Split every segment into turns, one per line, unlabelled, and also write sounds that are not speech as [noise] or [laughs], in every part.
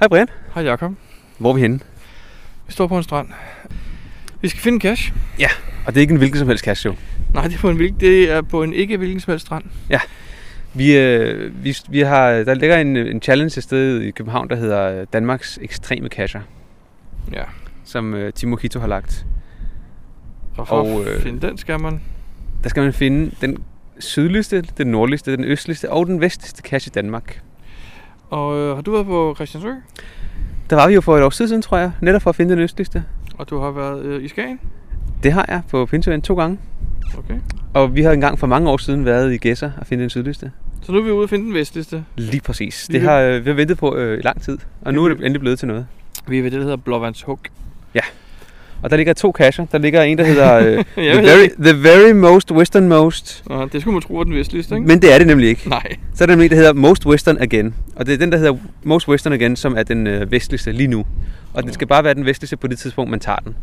Hej Brian.
Hej Jakob.
Hvor er vi henne?
Vi står på en strand. Vi skal finde en cash.
Og det er ikke en hvilken som helst cash show.
Nej, det er på en, hvil- det er på en ikke hvilken som helst strand.
Vi, øh, vi, vi har, der ligger en, en challenge et sted i København, der hedder øh, Danmarks Ekstreme Casher,
Ja.
som øh, Timo Kito har lagt.
Og for
Og,
og,
øh,
at finde den skal man.
Der skal man finde den sydligste, den nordligste, den østligste og den vestligste cash i Danmark.
Og øh, har du været på Christiansø?
Der var vi jo for et års tid siden, tror jeg, netop for at finde den østligste.
Og du har været øh, i Skagen?
Det har jeg på Pinseven to gange.
Okay.
Og vi har engang for mange år siden været i Gæsser og finde den sydligste.
Så nu er vi ude og finde den vestligste.
Lige præcis. Det
Lige-
har øh, vi har ventet på øh, i lang tid, og nu er det endelig blevet til noget.
Vi er ved det, der hedder Blåvandshug.
Og der ligger to kasser. Der ligger en, der hedder
[laughs]
[laughs]
øh,
ved
the,
det
very, the Very Most Westernmost.
Nå, det skulle man tro er den vestligste, ikke?
Men det er det nemlig ikke.
Nej.
Så er der nemlig en, der hedder Most Western Again. Og det er den, der hedder Most Western Again, som er den øh, vestligste lige nu. Og den skal bare være den vestligste på det tidspunkt, man tager den.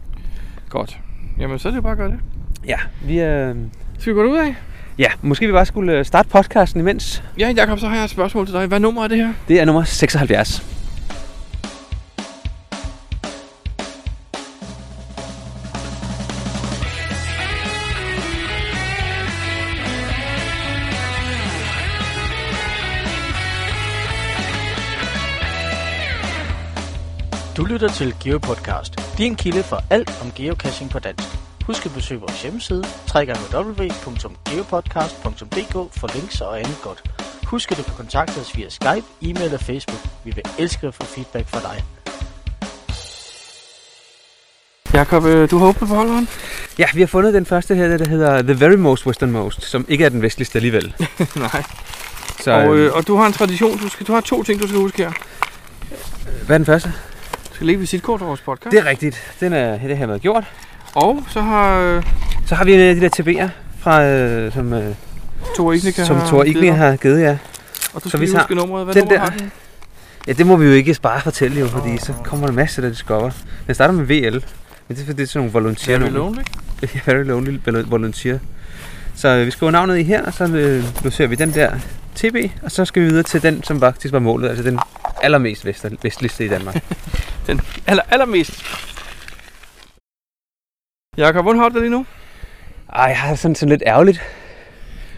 Godt. Jamen, så er det jo bare at gøre det.
Ja, vi, øh,
Skal vi gå ud af?
ja måske vi bare skulle øh, starte podcasten imens.
Ja, Jakob, så har jeg et spørgsmål til dig. Hvad nummer er det her?
Det er nummer 76.
Du lytter til GeoPodcast, din kilde for alt om geocaching på dansk. Husk at besøge vores hjemmeside, www.geopodcast.dk for links og andet godt. Husk at du kan kontakte os via Skype, e-mail og Facebook. Vi vil elske at få feedback fra dig.
Jakob, øh, du har åbnet forholderen.
Ja, vi har fundet den første her, der hedder The Very Most Westernmost, som ikke er den vestligste alligevel.
[laughs] Nej.
Så
Og,
øh,
øh, og du har en tradition. Du, skal, du har to ting, du skal huske her.
hvad er den første?
Du skal lægge visitkort over vores podcast.
Det er rigtigt. Den er, det har været gjort.
Og så har øh,
Så har vi øh, de der TB'er, fra, øh, som, øh,
Thor Ignica
som
har
Thor
givet
Igni
dig.
har givet jer.
Og du
Så
skal
vi
lige
tager
huske nummeret. Hvad
den
nummer
der.
har den?
Ja, det må vi jo ikke bare fortælle jo, fordi så kommer der masser, der discover. Den starter med VL, men det er fordi, det er sådan nogle volunteer
Very
nogle-
Lonely.
[laughs] Ja, Very Lonely vol- Volunteer. Så øh, vi skriver navnet i her, og så øh, noterer vi den der TB, og så skal vi videre til den, som faktisk var målet, altså den allermest vest, vestligste i
[laughs]
Danmark.
Aller, allermest. Jakob, hvordan har du det lige nu?
Ej, jeg har sådan, sådan lidt ærgerligt.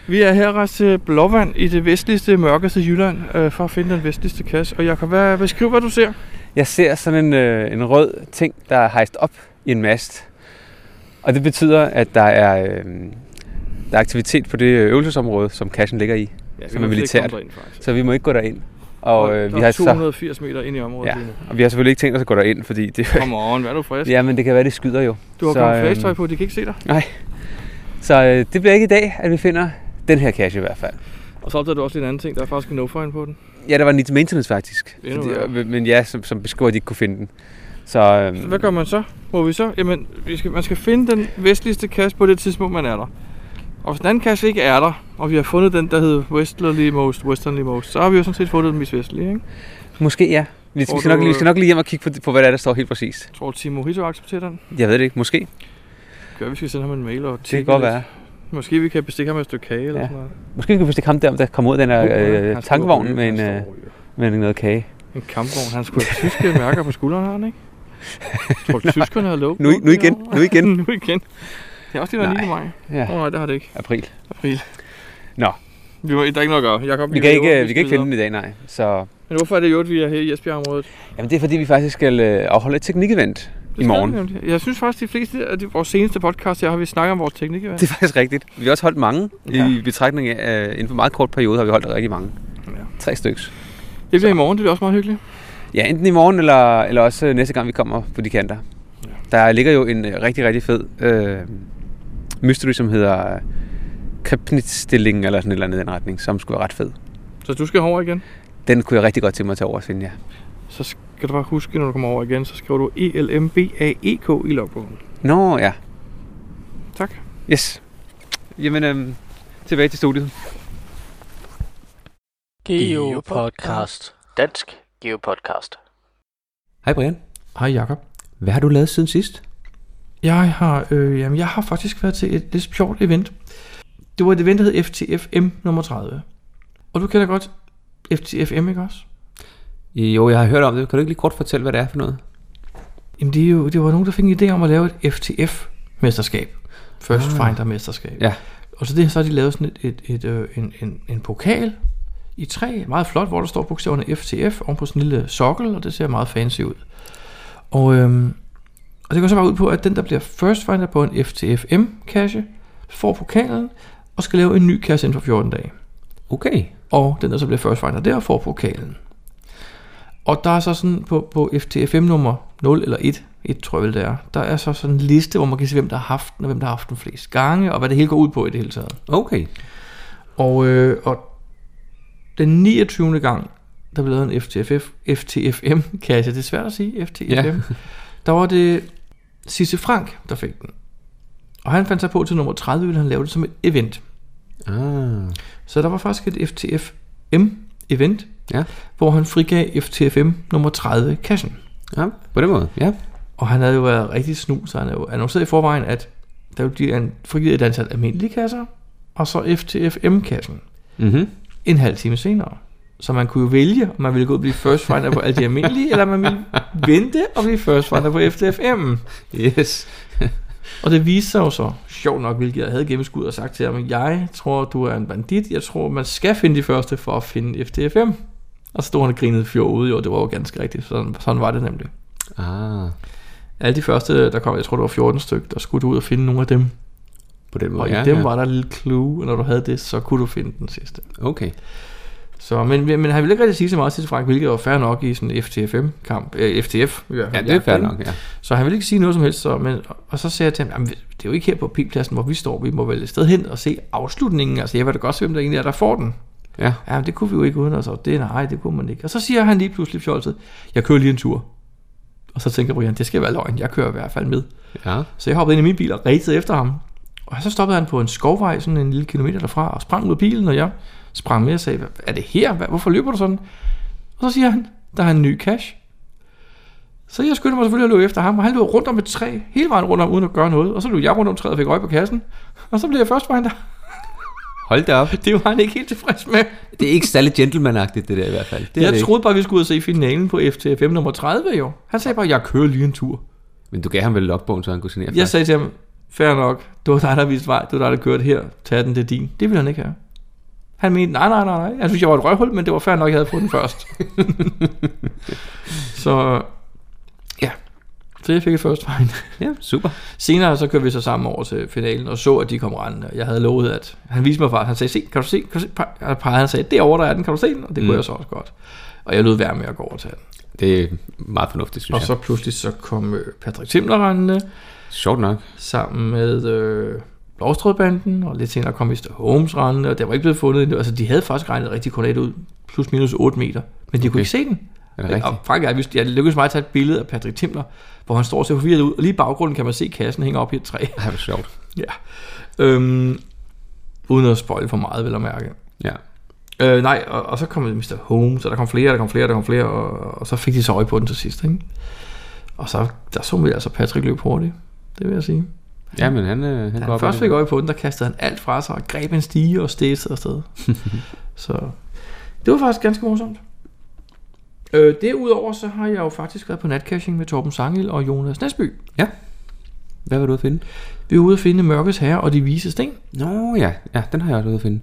Vi er her rejst til Blåvand i det vestligste, mørkeste Jylland, øh, for at finde den vestligste kasse. Og Jakob, hvad, beskriv, hvad du ser.
Jeg ser sådan en, øh, en rød ting, der er hejst op i en mast. Og det betyder, at der er, øh, der er aktivitet på det øh, øvelsesområde, som cashen ligger i.
Ja,
Som er militært. Så vi må ikke gå derind. Og, øh, vi har
har
så
280 meter ind i området
Ja.
lige nu.
Og vi har selvfølgelig ikke tænkt os at gå derind, fordi det...
Come on, hvad er du frisk?
ja, men det kan være, det skyder jo.
Du har
så,
kommet
øhm,
flashtøj på, de kan ikke se dig.
Så øh, det bliver ikke i dag, at vi finder den her cache i hvert fald.
Og så opdager du også lige en anden ting, der er faktisk en no-fine på den.
Ja, der var en til maintenance faktisk.
Endnu
Fordi,
værre.
øh, men ja, som, som beskriver, at de ikke kunne finde den. Så, øh,
Så hvad gør man så? Må vi så? Jamen, vi skal, man skal finde den vestligste kasse på det tidspunkt, man er der. Og hvis den anden kasse ikke er der, og vi har fundet den, der hedder Westerly Most, Westernly Most, så har vi jo sådan set fundet den mest vestlige, ikke?
Måske ja. Vi, skal,
Tror
vi, skal nok,
du,
vi skal
øh,
nok lige hjem og kigge på, på hvad der, er, der står helt præcist.
Tror du, Timo Hito accepterer den?
Jeg ved det ikke. Måske.
Gør, vi skal sende ham en mail og
Det kan
tjekke
godt
lidt.
være.
Måske vi kan bestikke ham et stykke kage eller
Ja.
sådan noget.
Måske vi kan bestikke ham der, om der kommer ud af den her
Uh,
øh,
han skulle
tankvogn
ryge,
med, en,
han
øh,
står og ryger.
med noget kage.
En kampvogn. Han skulle have
[laughs]
tyske mærker på skulderen, har han ikke? Tror du, tyskerne har lukket?
Nu i- nu igen, nu igen.
[laughs] nu igen. Det er også lige
Nej.
noget 9. maj.
Ja,
Åh oh, nej, det har det ikke.
april.
April.
Nå.
Vi må, der er ikke noget at gøre. Jacob,
Vi kan ikke,
lever,
øh, vi kan ikke
skal
finde den i dag, nej. Så,
Men hvorfor er det jo, at vi er her i Esbjerg-området? Det
jamen det er fordi, vi faktisk skal øh, afholde et teknikevent i
skal
morgen.
vi nemlig. Jeg synes faktisk, de fleste af de, vores seneste podcast her, har vi snakket om vores teknik. Det...
[laughs] Det er faktisk rigtigt. Vi har også holdt mange ja.
Ja.
i betragtning af, øh, inden for en meget kort periode har vi holdt rigtig mange.
Ja.
Tre stykker.
det bliver i morgen, det bliver også meget hyggeligt.
Ja, enten i morgen eller, eller også øh, næste gang vi kommer på de kanter. Ja. Der ligger jo en øh, rigtig, rigtig fed øh, mystery, som hedder Kripnitstillingen eller sådan et eller andet i den retning, som skulle være ret fed.
Så du skal over igen.
Den kunne jeg rigtig godt tænke mig at tage over og finde, ja.
Så skal du bare huske, når du kommer over igen, så skriver du E ELMBAEK E i logbogen.
Nå, ja.
Tak.
Yes. Jamen, øh, tilbage til studiet.
GeoPodcast. Dansk GeoPodcast.
Hej Brian.
Hej Jakob.
Hvad har du lavet siden sidst?
Jeg har, øh, jamen, jeg har faktisk været til et lidt sjovt event. Det var et event, der hed FTFM nummer 30. Og du kender godt FTFM, ikke også?
Jo, jeg har hørt om det. Kan du ikke lige kort fortælle, hvad det er for noget?
Jamen, det, er jo, det var nogen, der fik en idé om at lave et FTF-mesterskab. First Finder-mesterskab.
Ah. Ja.
Og så, det, så har de lavet sådan et, et, et, øh, en, en, en pokal i træ, meget flot, hvor der står bogstaverne FTF oven på sådan en lille sokkel, og det ser meget fancy ud. Og, øhm, og det går så bare ud på, at den, der bliver first finder på en FTFM-kasse, får pokalen og skal lave en ny kasse inden for 14 dage.
Okay.
Og den, der så bliver first finder der, får pokalen. Og der er så sådan på, på FTFM nummer 0 eller 1, 1 tror jeg vel det er, der er så sådan en liste, hvor man kan se, hvem der har haft den, og hvem der har haft den flest gange, og hvad det hele går ud på i det hele taget.
Okay.
Og, øh, og den 29. gang, der blev lavet en FTFF, FTFM-kasse, det er svært at sige, FTFM,
Ja.
ja. der var det Sisse Frank, der fik den. Og han fandt sig på til nummer 30, ville han lave det som et event.
Ah.
Så der var faktisk et FTFM-event,
Ja.
hvor han frigav FTFM nummer 30 kassen.
ja. På den måde, ja.
Og han havde jo været rigtig snu, så han havde jo annonceret i forvejen, at der ville blive an- frigivet et antal almindelige kasser, og så FTFM-kassen
Mhm.
en halv time senere. Så man kunne jo vælge, om man ville gå ud og blive first finder på alle de almindelige, eller man ville vente og blive first finder på FTFM.
[laughs] Yes.
[laughs] Og det viste sig jo så, sjovt nok, hvilket jeg havde gennemskuddet og sagt til ham, jeg tror, du er en bandit, jeg tror, man skal finde de første for at finde FTFM. Og så stod han og grinede fjord ude, og det var jo ganske rigtigt, sådan, sådan var det nemlig.
Ah.
Alle de første, der kom, jeg tror, det var 14 stykker, der skulle du ud og finde nogle af dem.
På den måde,
Og
ja.
i dem
ja.
var der et lille clue, og når du havde det, så kunne du finde den sidste.
Okay.
Så, men, men han ville ikke rigtig sige så meget til Frank, hvilket var fair nok i sådan en FTFM-kamp. Øh, FTF, i hvert
Ja,
fald.
det er fair
ikke?
nok, ja.
Så han ville ikke sige noget som helst. Så, men, og så sagde jeg til ham, "Jamen, det er jo ikke her på P-pladsen, hvor vi står. Vi må vel et sted hen og se afslutningen. Altså, jeg vil da godt se, hvem der egentlig er, der får den.
Ja.
Ja, men det kunne vi jo ikke uden os, og det nej, det kunne man ikke. Og så siger han lige pludselig fjolset, jeg kører lige en tur. Og så tænker Brian, det skal være løgn, jeg kører i hvert fald med.
Ja.
Så jeg hoppede ind i min bil og rætede efter ham. Og så stoppede han på en skovvej, sådan en lille kilometer derfra, og sprang ud af bilen, og jeg sprang med og sagde, "Hvad er det her? Hvad- Hvorfor løber du sådan? Og så siger han, der er en ny cash. Så jeg skyndte mig selvfølgelig at løbe efter ham, og han løb rundt om et træ, hele vejen rundt om, uden at gøre noget. Og så løb jeg rundt om træet og fik øje på kassen, og så blev jeg først der.
Hold da op.
[laughs] Det var han ikke helt tilfreds med.
Det er ikke særlig gentlemanagtigt, det der i hvert fald. Det er det
Jeg
ikke.
troede bare, vi skulle ud og se finalen på FTFM nummer 30 jo. Han sagde bare, jeg kører lige en tur.
Men du gav ham vel logbogen, så han kunne signere
Jeg sagde til ham, fair nok, det var dig, der viste vej, det var dig, der kørte her, tag den, det er din. Det ville han ikke have. Han mente, nej, nej, nej, nej. Han synes, jeg var et røvhul, men det var fair nok, jeg havde fået den
[laughs]
først. så ja, så jeg fik et first find.
Ja, super.
Senere så kørte vi så sammen over til finalen og så, at de kom rendende. Jeg havde lovet, at han viste mig faktisk, han sagde, se, kan du se, kan du se, Pe- og pegede, han sagde, derovre der er den, kan du se den? Og det mm. kunne jeg så også godt. Og jeg lød værd med at gå over til den.
Det er meget fornuftigt, synes
Og
jeg.
så pludselig så kom øh, Patrick Timler rendende,
Sjovt nok.
sammen med øh, Blåstrødbanden, og lidt senere kom Mr. Holmes rendende, og der var ikke blevet fundet endnu. Altså, de havde faktisk regnet rigtig kornet ud, plus minus 8 meter, men de kunne
Okay.
ikke se den.
Er det rigtigt?
Og Frank og jeg, vidste- jeg lykkedes mig at tage et billede af Patrick Timler, hvor han står og ser forvirret ud, og lige i baggrunden kan man se kassen hænge op i et
[laughs]
træ.
Ej, hvor sjovt.
ja. Øhm, uden at spoil for meget, vel at mærke.
Ja.
Øh, nej, og, og så kom Mr. Holmes, og der kom flere, der kom flere, der kom flere, og, og så fik de så øje på den til sidst, ikke? Og så, der så vi altså Patrick løb hurtigt, det vil jeg sige.
Ja, men han, øh, han
Da
går
han
op
først
i det.
fik øje på den, der kastede han alt fra sig og greb en stige og stæsede afsted.
[laughs]
så det var faktisk ganske morsomt. Øh, derudover så har jeg jo faktisk været på natcaching med Torben Sangel og Jonas Næsby.
Ja. Hvad var du ude at finde?
Vi er ude at finde Mørkets Herre og De Vise Sten.
Nå ja, ja, den har jeg også ude at finde.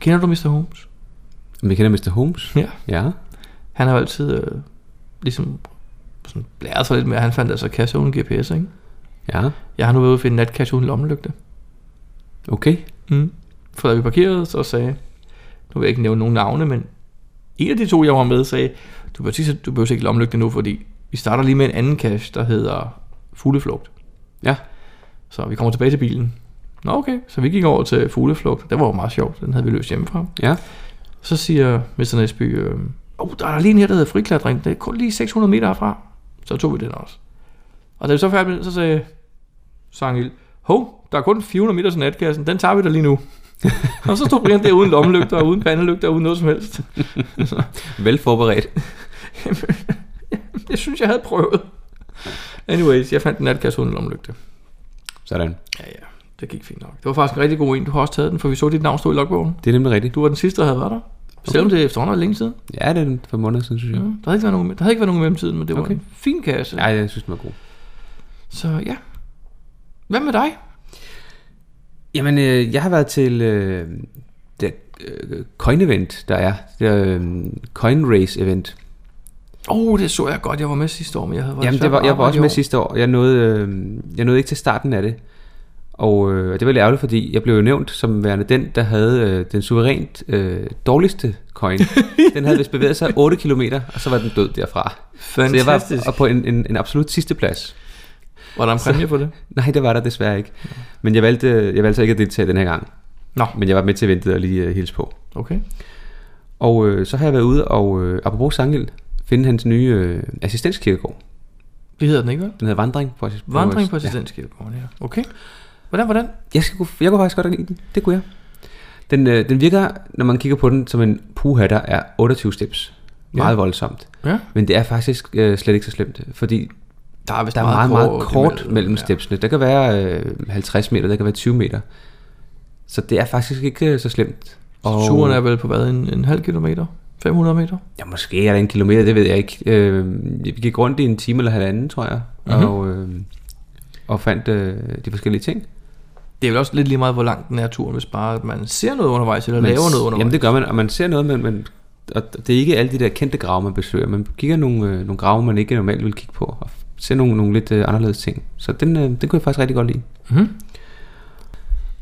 Kender du Mr. Holmes?
Men vi kender Mr.
[laughs]
Holmes.
Ja.
Ja.
Han har jo altid øh, ligesom sådan blæret sig lidt med, at han fandt altså kasse uden GPS, ikke?
Ja.
Jeg har nu været ude at finde natkasse uden lommelygte.
Okay.
Mm. For da vi parkerede, så sagde, nu vil jeg ikke nævne nogen navne, men en af de to, jeg var med, sagde, du behøver ikke, du behøver ikke lommelygte nu, fordi vi starter lige med en anden cache, der hedder Fugleflugt.
Ja.
Så vi kommer tilbage til bilen. Nå okay, så vi gik over til Fugleflugt. Det var jo meget sjovt, den havde vi løst hjemmefra.
Ja.
Så siger Mr. Næsby, øh, oh, der er der lige en her, der hedder friklatring. Det er kun lige 600 meter herfra. Så tog vi den også. Og da vi så færdige med den, så sagde Sangil, hov, der er kun 400 meter til natkassen. Den tager vi da lige nu. [laughs] og så stod Brian der uden lommelygter, og uden pandelygter, og uden noget som
[laughs]
helst.
Vel forberedt.
Jeg synes, jeg havde prøvet. Anyways, jeg fandt en natkasse uden lommelygte.
Sådan.
Ja, ja, det gik fint nok. Det var faktisk en rigtig god en. Du har også taget den, for vi så dit navn stå i logbogen.
Det er nemlig rigtigt.
Du var den sidste, der havde været der. Selvom det efterhånden er længe siden.
Ja, det er den for måneder siden, synes
Ja.
jeg.
Mm. Der, havde ikke været nogen, der havde ikke været nogen i mellemtiden, men det var okay.
Okay.
en fin kasse.
Nej, jeg synes, den var god.
Så ja. Hvad med dig?
Jamen, øh, jeg har været til øh, det øh, coin-event, der er. Det er øh, coin race-event.
Åh, oh, det så jeg godt. Jeg var med sidste år, men jeg havde
Jamen, det var, jeg var også med sidste år. Jeg nåede, øh, jeg nåede ikke til starten af det. Og øh, og det var lidt ærgerligt, fordi jeg blev jo nævnt som værende den, der havde øh, den suverænt øh, dårligste
[laughs]
coin. den havde vist bevæget sig 8 km, og så var den død derfra. Så jeg
Fantastisk.
var og på en, en, en absolut sidste plads.
Var der en præmie på det?
[laughs] Nej, det var der desværre ikke. Men jeg valgte, jeg valgte så ikke at deltage den her gang.
Nå.
Men jeg var med til ventet og lige øh, hilse på.
Okay.
Og øh, så har jeg været ude og, øh, apropos Sangild, finde hans nye øh, assistenskirkegård.
Det hedder den ikke, vel?
Den hedder Vandring på assist-
Vandring på
Ja.
assistentskabet. Ja. Okay. Hvordan, hvordan?
Jeg, skal, kunne- jeg kunne faktisk godt lide den. Det kunne jeg. Den, øh, den virker, når man kigger på den, som en puha, der er 28 steps. Meget
Ja.
voldsomt.
Ja.
Men det er faktisk øh, slet ikke så slemt, fordi
Der er vist
der er meget, meget, meget kort
imellem.
mellem, mellem stepsene. Der kan være øh, 50 meter, der kan være 20 meter. Så det er faktisk ikke øh, så slemt.
Og... Turen er vel på hvad, en, en halv kilometer? 500 meter?
Ja, måske er der en kilometer, det ved jeg ikke. Øh, vi gik rundt i en time eller halvanden, tror jeg,
Mhm.
mm-hmm. og, øh, og fandt øh, de forskellige ting.
Det er vel også lidt lige meget, hvor lang den er turen, hvis bare man ser noget undervejs, eller man laver noget undervejs.
Jamen det gør man, og man ser noget, men, men og det er ikke alle de der kendte grave, man besøger. Man kigger nogle, øh, nogle grave, man ikke normalt vil kigge på, og ser nogle, nogle lidt øh, anderledes ting. Så den, øh, den kunne jeg faktisk rigtig godt lide.
Mm-hmm.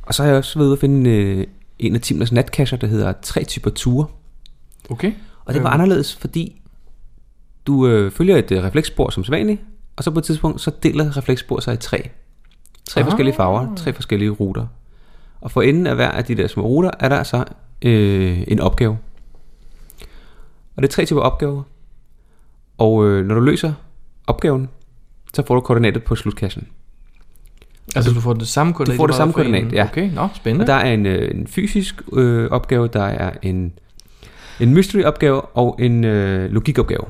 Og så har jeg også været ude at finde øh, en af Timlers natkasser, der hedder Tre typer ture.
Okay.
Og det var
Øhm.
anderledes, fordi du øh, følger et øh, refleksspor som sædvanligt, og så på et tidspunkt, så deler refleksspor sig i tre. Tre ah. forskellige farver, tre forskellige ruter. Og for enden af hver af de der små ruter, er der så øh, en opgave. Og det er tre typer opgaver. Og øh, når du løser opgaven, så får du koordinatet på slutkassen.
Altså du får det samme koordinat?
Du får det
bare
samme
for en-
koordinat, ja.
Okay, nå,
Og
spændende.
der er en, øh, en fysisk øh, opgave, der er en, en mystery-opgave og en øh, logikopgave.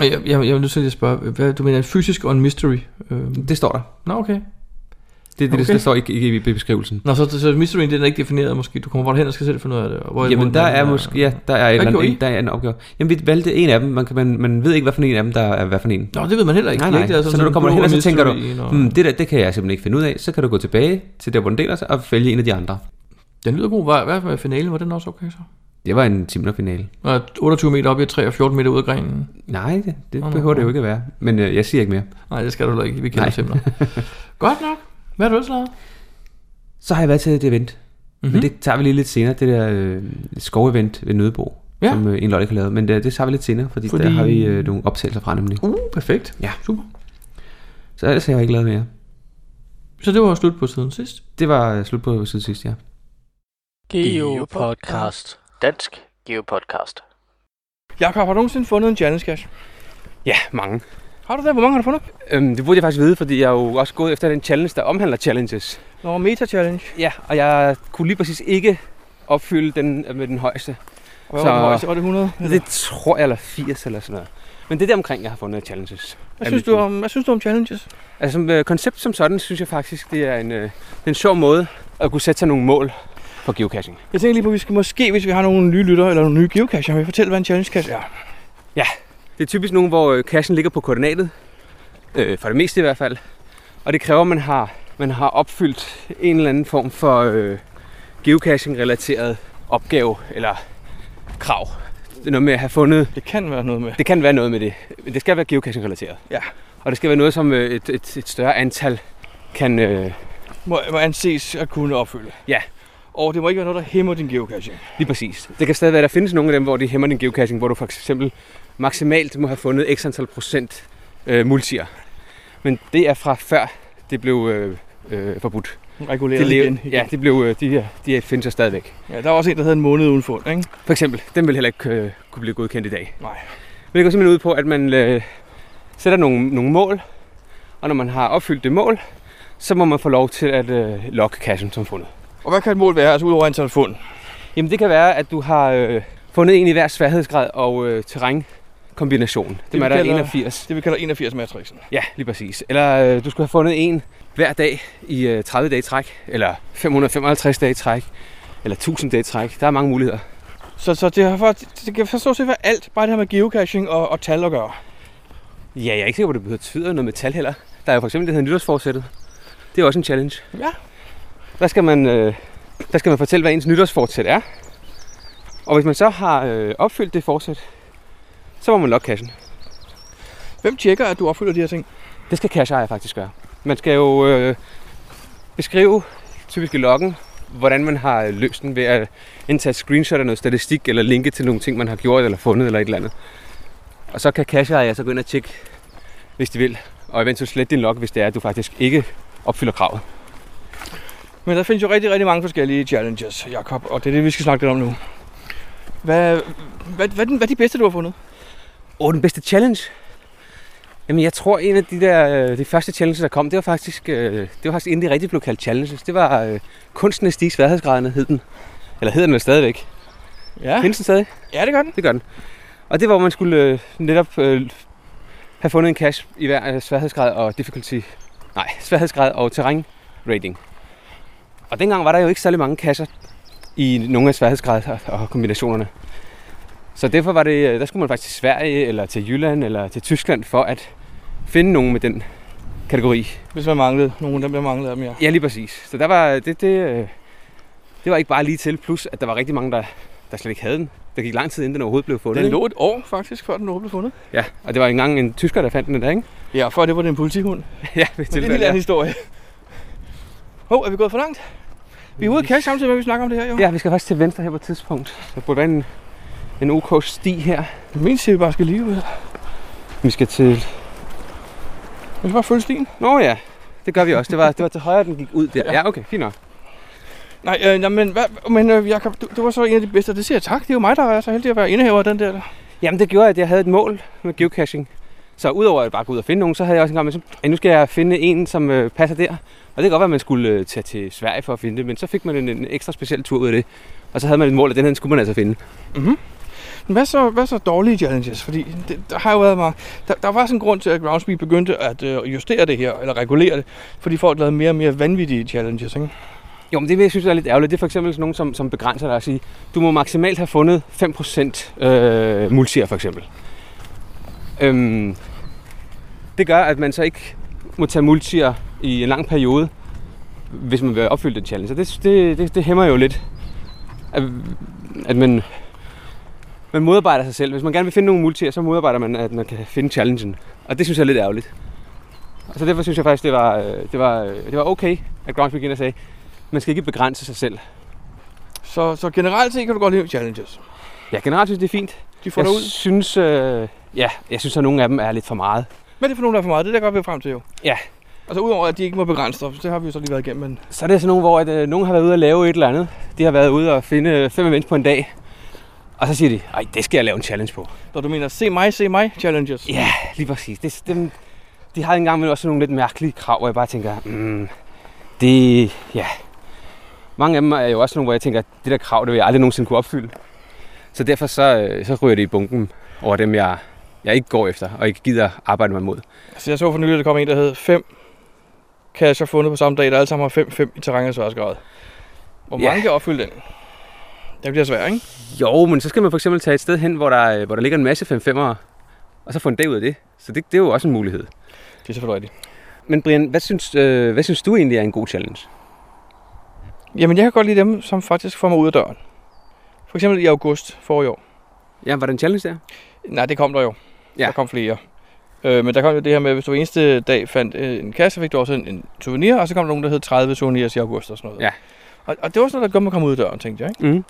Og Jeg, jeg, jeg er nødt til lige at spørge, hvad, du mener en fysisk og en mystery? Øhm,
Det står der.
nå, okay.
Det er det,
Okay.
okay. der står i, i, i beskrivelsen.
Nå, så, så mysteryen den er ikke defineret måske. Du kommer bare hen og skal selv finde ud af det. og hvorimod
Jamen, der
den
er måske, ja, der er, et
Hvad
eller
gjorde I?
andet, der er en opgave. Jamen, vi valgte en af dem. Man, kan, man, man ved ikke, hvad for en af dem, der er hvad for en.
Nå, det ved man heller ikke.
Nej,
Det er
nej.
Ikke, det er sådan
så når
sådan
du kommer
blå
hen, og så tænker du,
mystery, og-
hmm, det der, det kan jeg simpelthen ikke finde ud af. Så kan du gå tilbage til der, hvor den deler sig, og vælge en af de andre.
Den lyder god. Hvad, hvad med finalen? Var den også okay så?
Det var en timlerfinale.
Nå, 28 meter op i et træ og 14 meter ud af grenen.
Nej, det, det
Nå, nå,
behøver det
nå.
jo ikke at være. Men øh, jeg siger ikke mere.
Nej, det skal du heller ikke. Vi kender
Nej.
simpelthen.
[laughs]
Godt nok. Hvad har du ellers lavet? Mhm.
Så har jeg været til et event. Mm-hmm. Men det tager vi lige lidt senere, det der øh, skovevent ved Nødebo,
Ja.
ja. som øh, en Lotte har lavet. Men det, det tager vi lidt senere, fordi,
Fordi-
fordi... der har vi øh, nogle optagelser fra nemlig.
Uh, perfekt.
Ja.
Super.
Så ellers har jeg ikke lavet mere.
Så det var slut på siden sidst.
Det var øh, slut på siden sidst, ja.
Geo Podcast. Dansk Geo Podcast.
Jakob, har du nogensinde fundet en Janis Cash?
Ja, mange.
Har du det? Hvor mange har du fundet?
Øhm, det burde jeg faktisk vide, fordi jeg er jo også gået efter den challenge, der omhandler challenges.
Nå, Meta Challenge.
Ja, og jeg kunne lige præcis ikke opfylde den øh, med den højeste.
Hvad
Så-
var det højeste? Var det 100?
Det tror jeg, eller 80 eller sådan noget. Men det er der omkring, jeg har fundet challenges.
Hvad synes, du om, hvad synes du om challenges?
Altså som øh, koncept som sådan, synes jeg faktisk, det er en, øh, det er en sjov måde at kunne sætte sig nogle mål for geocaching.
Jeg tænker lige på, at vi skal måske, hvis vi har nogle nye lyttere eller nogle nye geocacher, vil fortælle, hvad en challenge cache er.
Det er typisk nogen, hvor øh, cachen ligger på koordinatet. Øh, for det meste i hvert fald. Og det kræver, at man har, man har opfyldt en eller anden form for øh, geocaching-relateret opgave eller krav. Det er noget med at have fundet...
Det kan være noget med.
Det kan være noget med det, men det skal være geocaching-relateret.
Ja.
Og det skal være noget, som øh, et, et, et større antal kan... Øh,
Må, må anses at kunne opfylde.
Ja.
Og det må ikke være noget, der hæmmer din geocaching.
lige præcis. Det kan stadig være, at der findes nogle af dem, hvor det hæmmer din geocaching, hvor du for eksempel maksimalt må have fundet x antal procent øh, multier. Men det er fra før det blev øh, øh, forbudt.
Reguleret
Det
det
lever,
igen, igen.
Ja, det blev, øh, de, her, de her findes jo stadigvæk.
ja. der var også en, der havde en måned uden fund, ikke?
For eksempel, den vil heller ikke øh, kunne blive godkendt i dag.
Nej.
Men det går simpelthen ud på, at man øh, sætter nogle, nogle mål, og når man har opfyldt det mål, så må man få lov til at øh, logge kassen som fundet.
Og hvad kan et mål være, altså udover antal fund?
Jamen det kan være, at du har øh, fundet en i hver sværhedsgrad og øh, terrænkombination.
vi
Det er der
kalder-
81.
Det vi kalder 81-matrixen.
Ja, lige præcis. Eller øh, du skulle have fundet en hver dag i øh, 30 dage i træk, eller 555 dage i træk, eller 1000 dage i træk. Der er mange muligheder.
Så, så det har faktisk, det kan forstås set være alt, bare det her med geocaching og, og tal at gøre.
Ja, jeg er ikke sikker på, at det betyder noget metal heller. Der er jo for eksempel det her nytårsforsættet. Det er også en challenge.
Ja.
Der skal man, øh, der skal man fortælle, hvad ens nytårsforsæt er. Og hvis man så har øh, opfyldt det forsæt, så må man logge kassen.
Hvem tjekker, at du opfylder de her ting?
Det skal cashejer faktisk gøre. Man skal jo øh, beskrive typisk i loggen, hvordan man har øh, løst den ved at indtage screenshot af noget statistik, eller linke til nogle ting, man har gjort eller fundet eller et eller andet. Og så kan cashejer så gå ind og tjekke, hvis de vil, og eventuelt slette din log, hvis det er, at du faktisk ikke opfylder kravet.
Men der findes jo rigtig, rigtig mange forskellige challenges, Jakob, og det er det, vi skal snakke lidt om nu. Hvad, hvad, hvad, er den- hvad er de bedste, du har fundet?
Åh, oh, den bedste challenge? Jamen, jeg tror, en af de der, øh, de første challenges, der kom, det var faktisk, øh, det var faktisk inden de rigtig blev kaldt challenges. Det var øh, kunsten at stige sværhedsgraderne, hed den. Eller hedder den vel stadigvæk.
Ja,
Findes den stadig?
ja det gør den.
Det gør den. Og det var, hvor man skulle øh, netop øh, have fundet en cache i hver øh, sværhedsgrad og difficulty. Nej, sværhedsgrad og terræn rating. Og dengang var der jo ikke særlig mange kasser i nogle af sværhedsgrader og og kombinationerne. Så derfor var det, øh, der skulle man faktisk til Sverige, eller til Jylland, eller til Tyskland for at finde nogen med den kategori.
Hvis man manglede nogen, der bliver manglet af dem, ja.
Ja, lige præcis. Så der var, det, det, øh, det var ikke bare lige til, plus at der var rigtig mange, der, der slet ikke havde den. Der gik lang tid, inden den overhovedet blev fundet.
Den
ikke?
lå et år faktisk, før den blev fundet.
Ja, og det var engang en tysker, der fandt den der, ikke?
Ja, før det var det en politihund. Men
[laughs] ja, ved
det er en helt anden historie. Hov, er vi gået for langt? Vi er ude af cash samtidig med, at vi snakker om det her, jo.
ja. ja, vi skal faktisk til venstre her på et tidspunkt. Der burde være en, en OK sti her.
Min siger, vi bare skal lige ud.
Vi skal til...
Vi skal bare følge stien.
Nå ja, det gør vi også. Det var, det var til højre, den gik ud der. Ja, okay, fint nok.
Nej, øh, nej, men, hvad, men øh, Jacob, du, du, var så en af de bedste. Det siger jeg tak. Det er jo mig, der er så heldig at være indehaver af den der.
Jamen, det gjorde, at jeg havde et mål med geocaching. Så udover at bare gå ud og finde nogen, så havde jeg også en gang med, at nu skal jeg finde en, som øh, passer der. Og det kan godt være, at man skulle øh, tage til Sverige for at finde det, men så fik man en, en ekstra speciel tur ud af det. Og så havde man et mål, at den her den skulle man altså finde.
Mhm. Men hvad så, hvad så dårlige challenges? Fordi det, der har jo været mange... Der, der var sådan en grund til, at Groundspeak begyndte at øh, justere det her, eller regulere det, fordi folk lavede mere og mere vanvittige challenges, ikke?
Jo, men det jeg synes jeg er lidt ærgerligt, det er for eksempel sådan nogen, som, som begrænser dig at sige, du må maksimalt have fundet 5% øh, multier for eksempel. Øhm, det gør, at man så ikke må tage multier i en lang periode, hvis man vil opfylde den challenge. Så det, det, det, det hæmmer jo lidt, at, at man, man modarbejder sig selv. Hvis man gerne vil finde nogle multier, så modarbejder man, at man kan finde challengen. Og det synes jeg er lidt ærgerligt. Så derfor synes jeg faktisk, det var, øh, det var, øh, det var okay, at Groundspeak ind og sagde, man skal ikke begrænse sig selv.
Så, så generelt set kan du godt lide challenges.
Ja, generelt synes jeg, det er fint.
De får dig
jeg
ud.
synes, øh, ja, jeg synes, at nogle af dem er lidt for meget.
Men det er for nogen, der er for meget. Det er der godt vi er frem til, jo.
Ja.
Altså udover, at de ikke må begrænse dig, så det har vi jo så lige været igennem, men
Så er det sådan nogle, hvor at, øh, nogen har været ude og lave et eller andet. De har været ude og finde øh, fem events på en dag. Og så siger de, ej, det skal jeg lave en challenge på.
når du mener, se mig, se mig, challenges.
Ja, lige præcis. Det, dem, de har engang med også nogle lidt mærkelige krav, hvor jeg bare tænker, mm, det, ja. Mange af dem er jo også nogle, hvor jeg tænker, det der krav, det vil jeg aldrig nogensinde kunne opfylde. Så derfor så, øh, så ryger det i bunken over dem, jeg, jeg ikke går efter, og ikke gider arbejde mig mod.
Altså jeg så for nylig, at der kom en, der hed 5 kasser fundet på samme dag, der alle sammen har 5-5 i terræn og sværhedsgrad. Hvor
Ja.
mange kan opfylde den? Det bliver svært, ikke?
Jo, men så skal man for eksempel tage et sted hen, hvor der, øh, hvor der ligger en masse 5-5'ere, og så få en dag ud af det. Så det, det er jo også en mulighed.
Det er selvfølgelig rigtigt.
Men Brian, hvad synes, øh, hvad synes du egentlig er en god challenge?
Jamen, jeg kan godt lide dem, som faktisk får mig ud af døren. For eksempel i august for i år.
Ja, var det en challenge der?
Nej, det kom der jo.
Ja.
Ja. Der kom flere. Øh, men der kom jo det her med, at hvis du eneste dag fandt øh, en kasse, fik du også en, en souvenir, og så kom der nogen, der hed 30 souvenirs i august og sådan noget.
Ja.
Og, og det var sådan noget, der gjorde mig at komme ud af døren, tænkte jeg. Ikke?
Mm.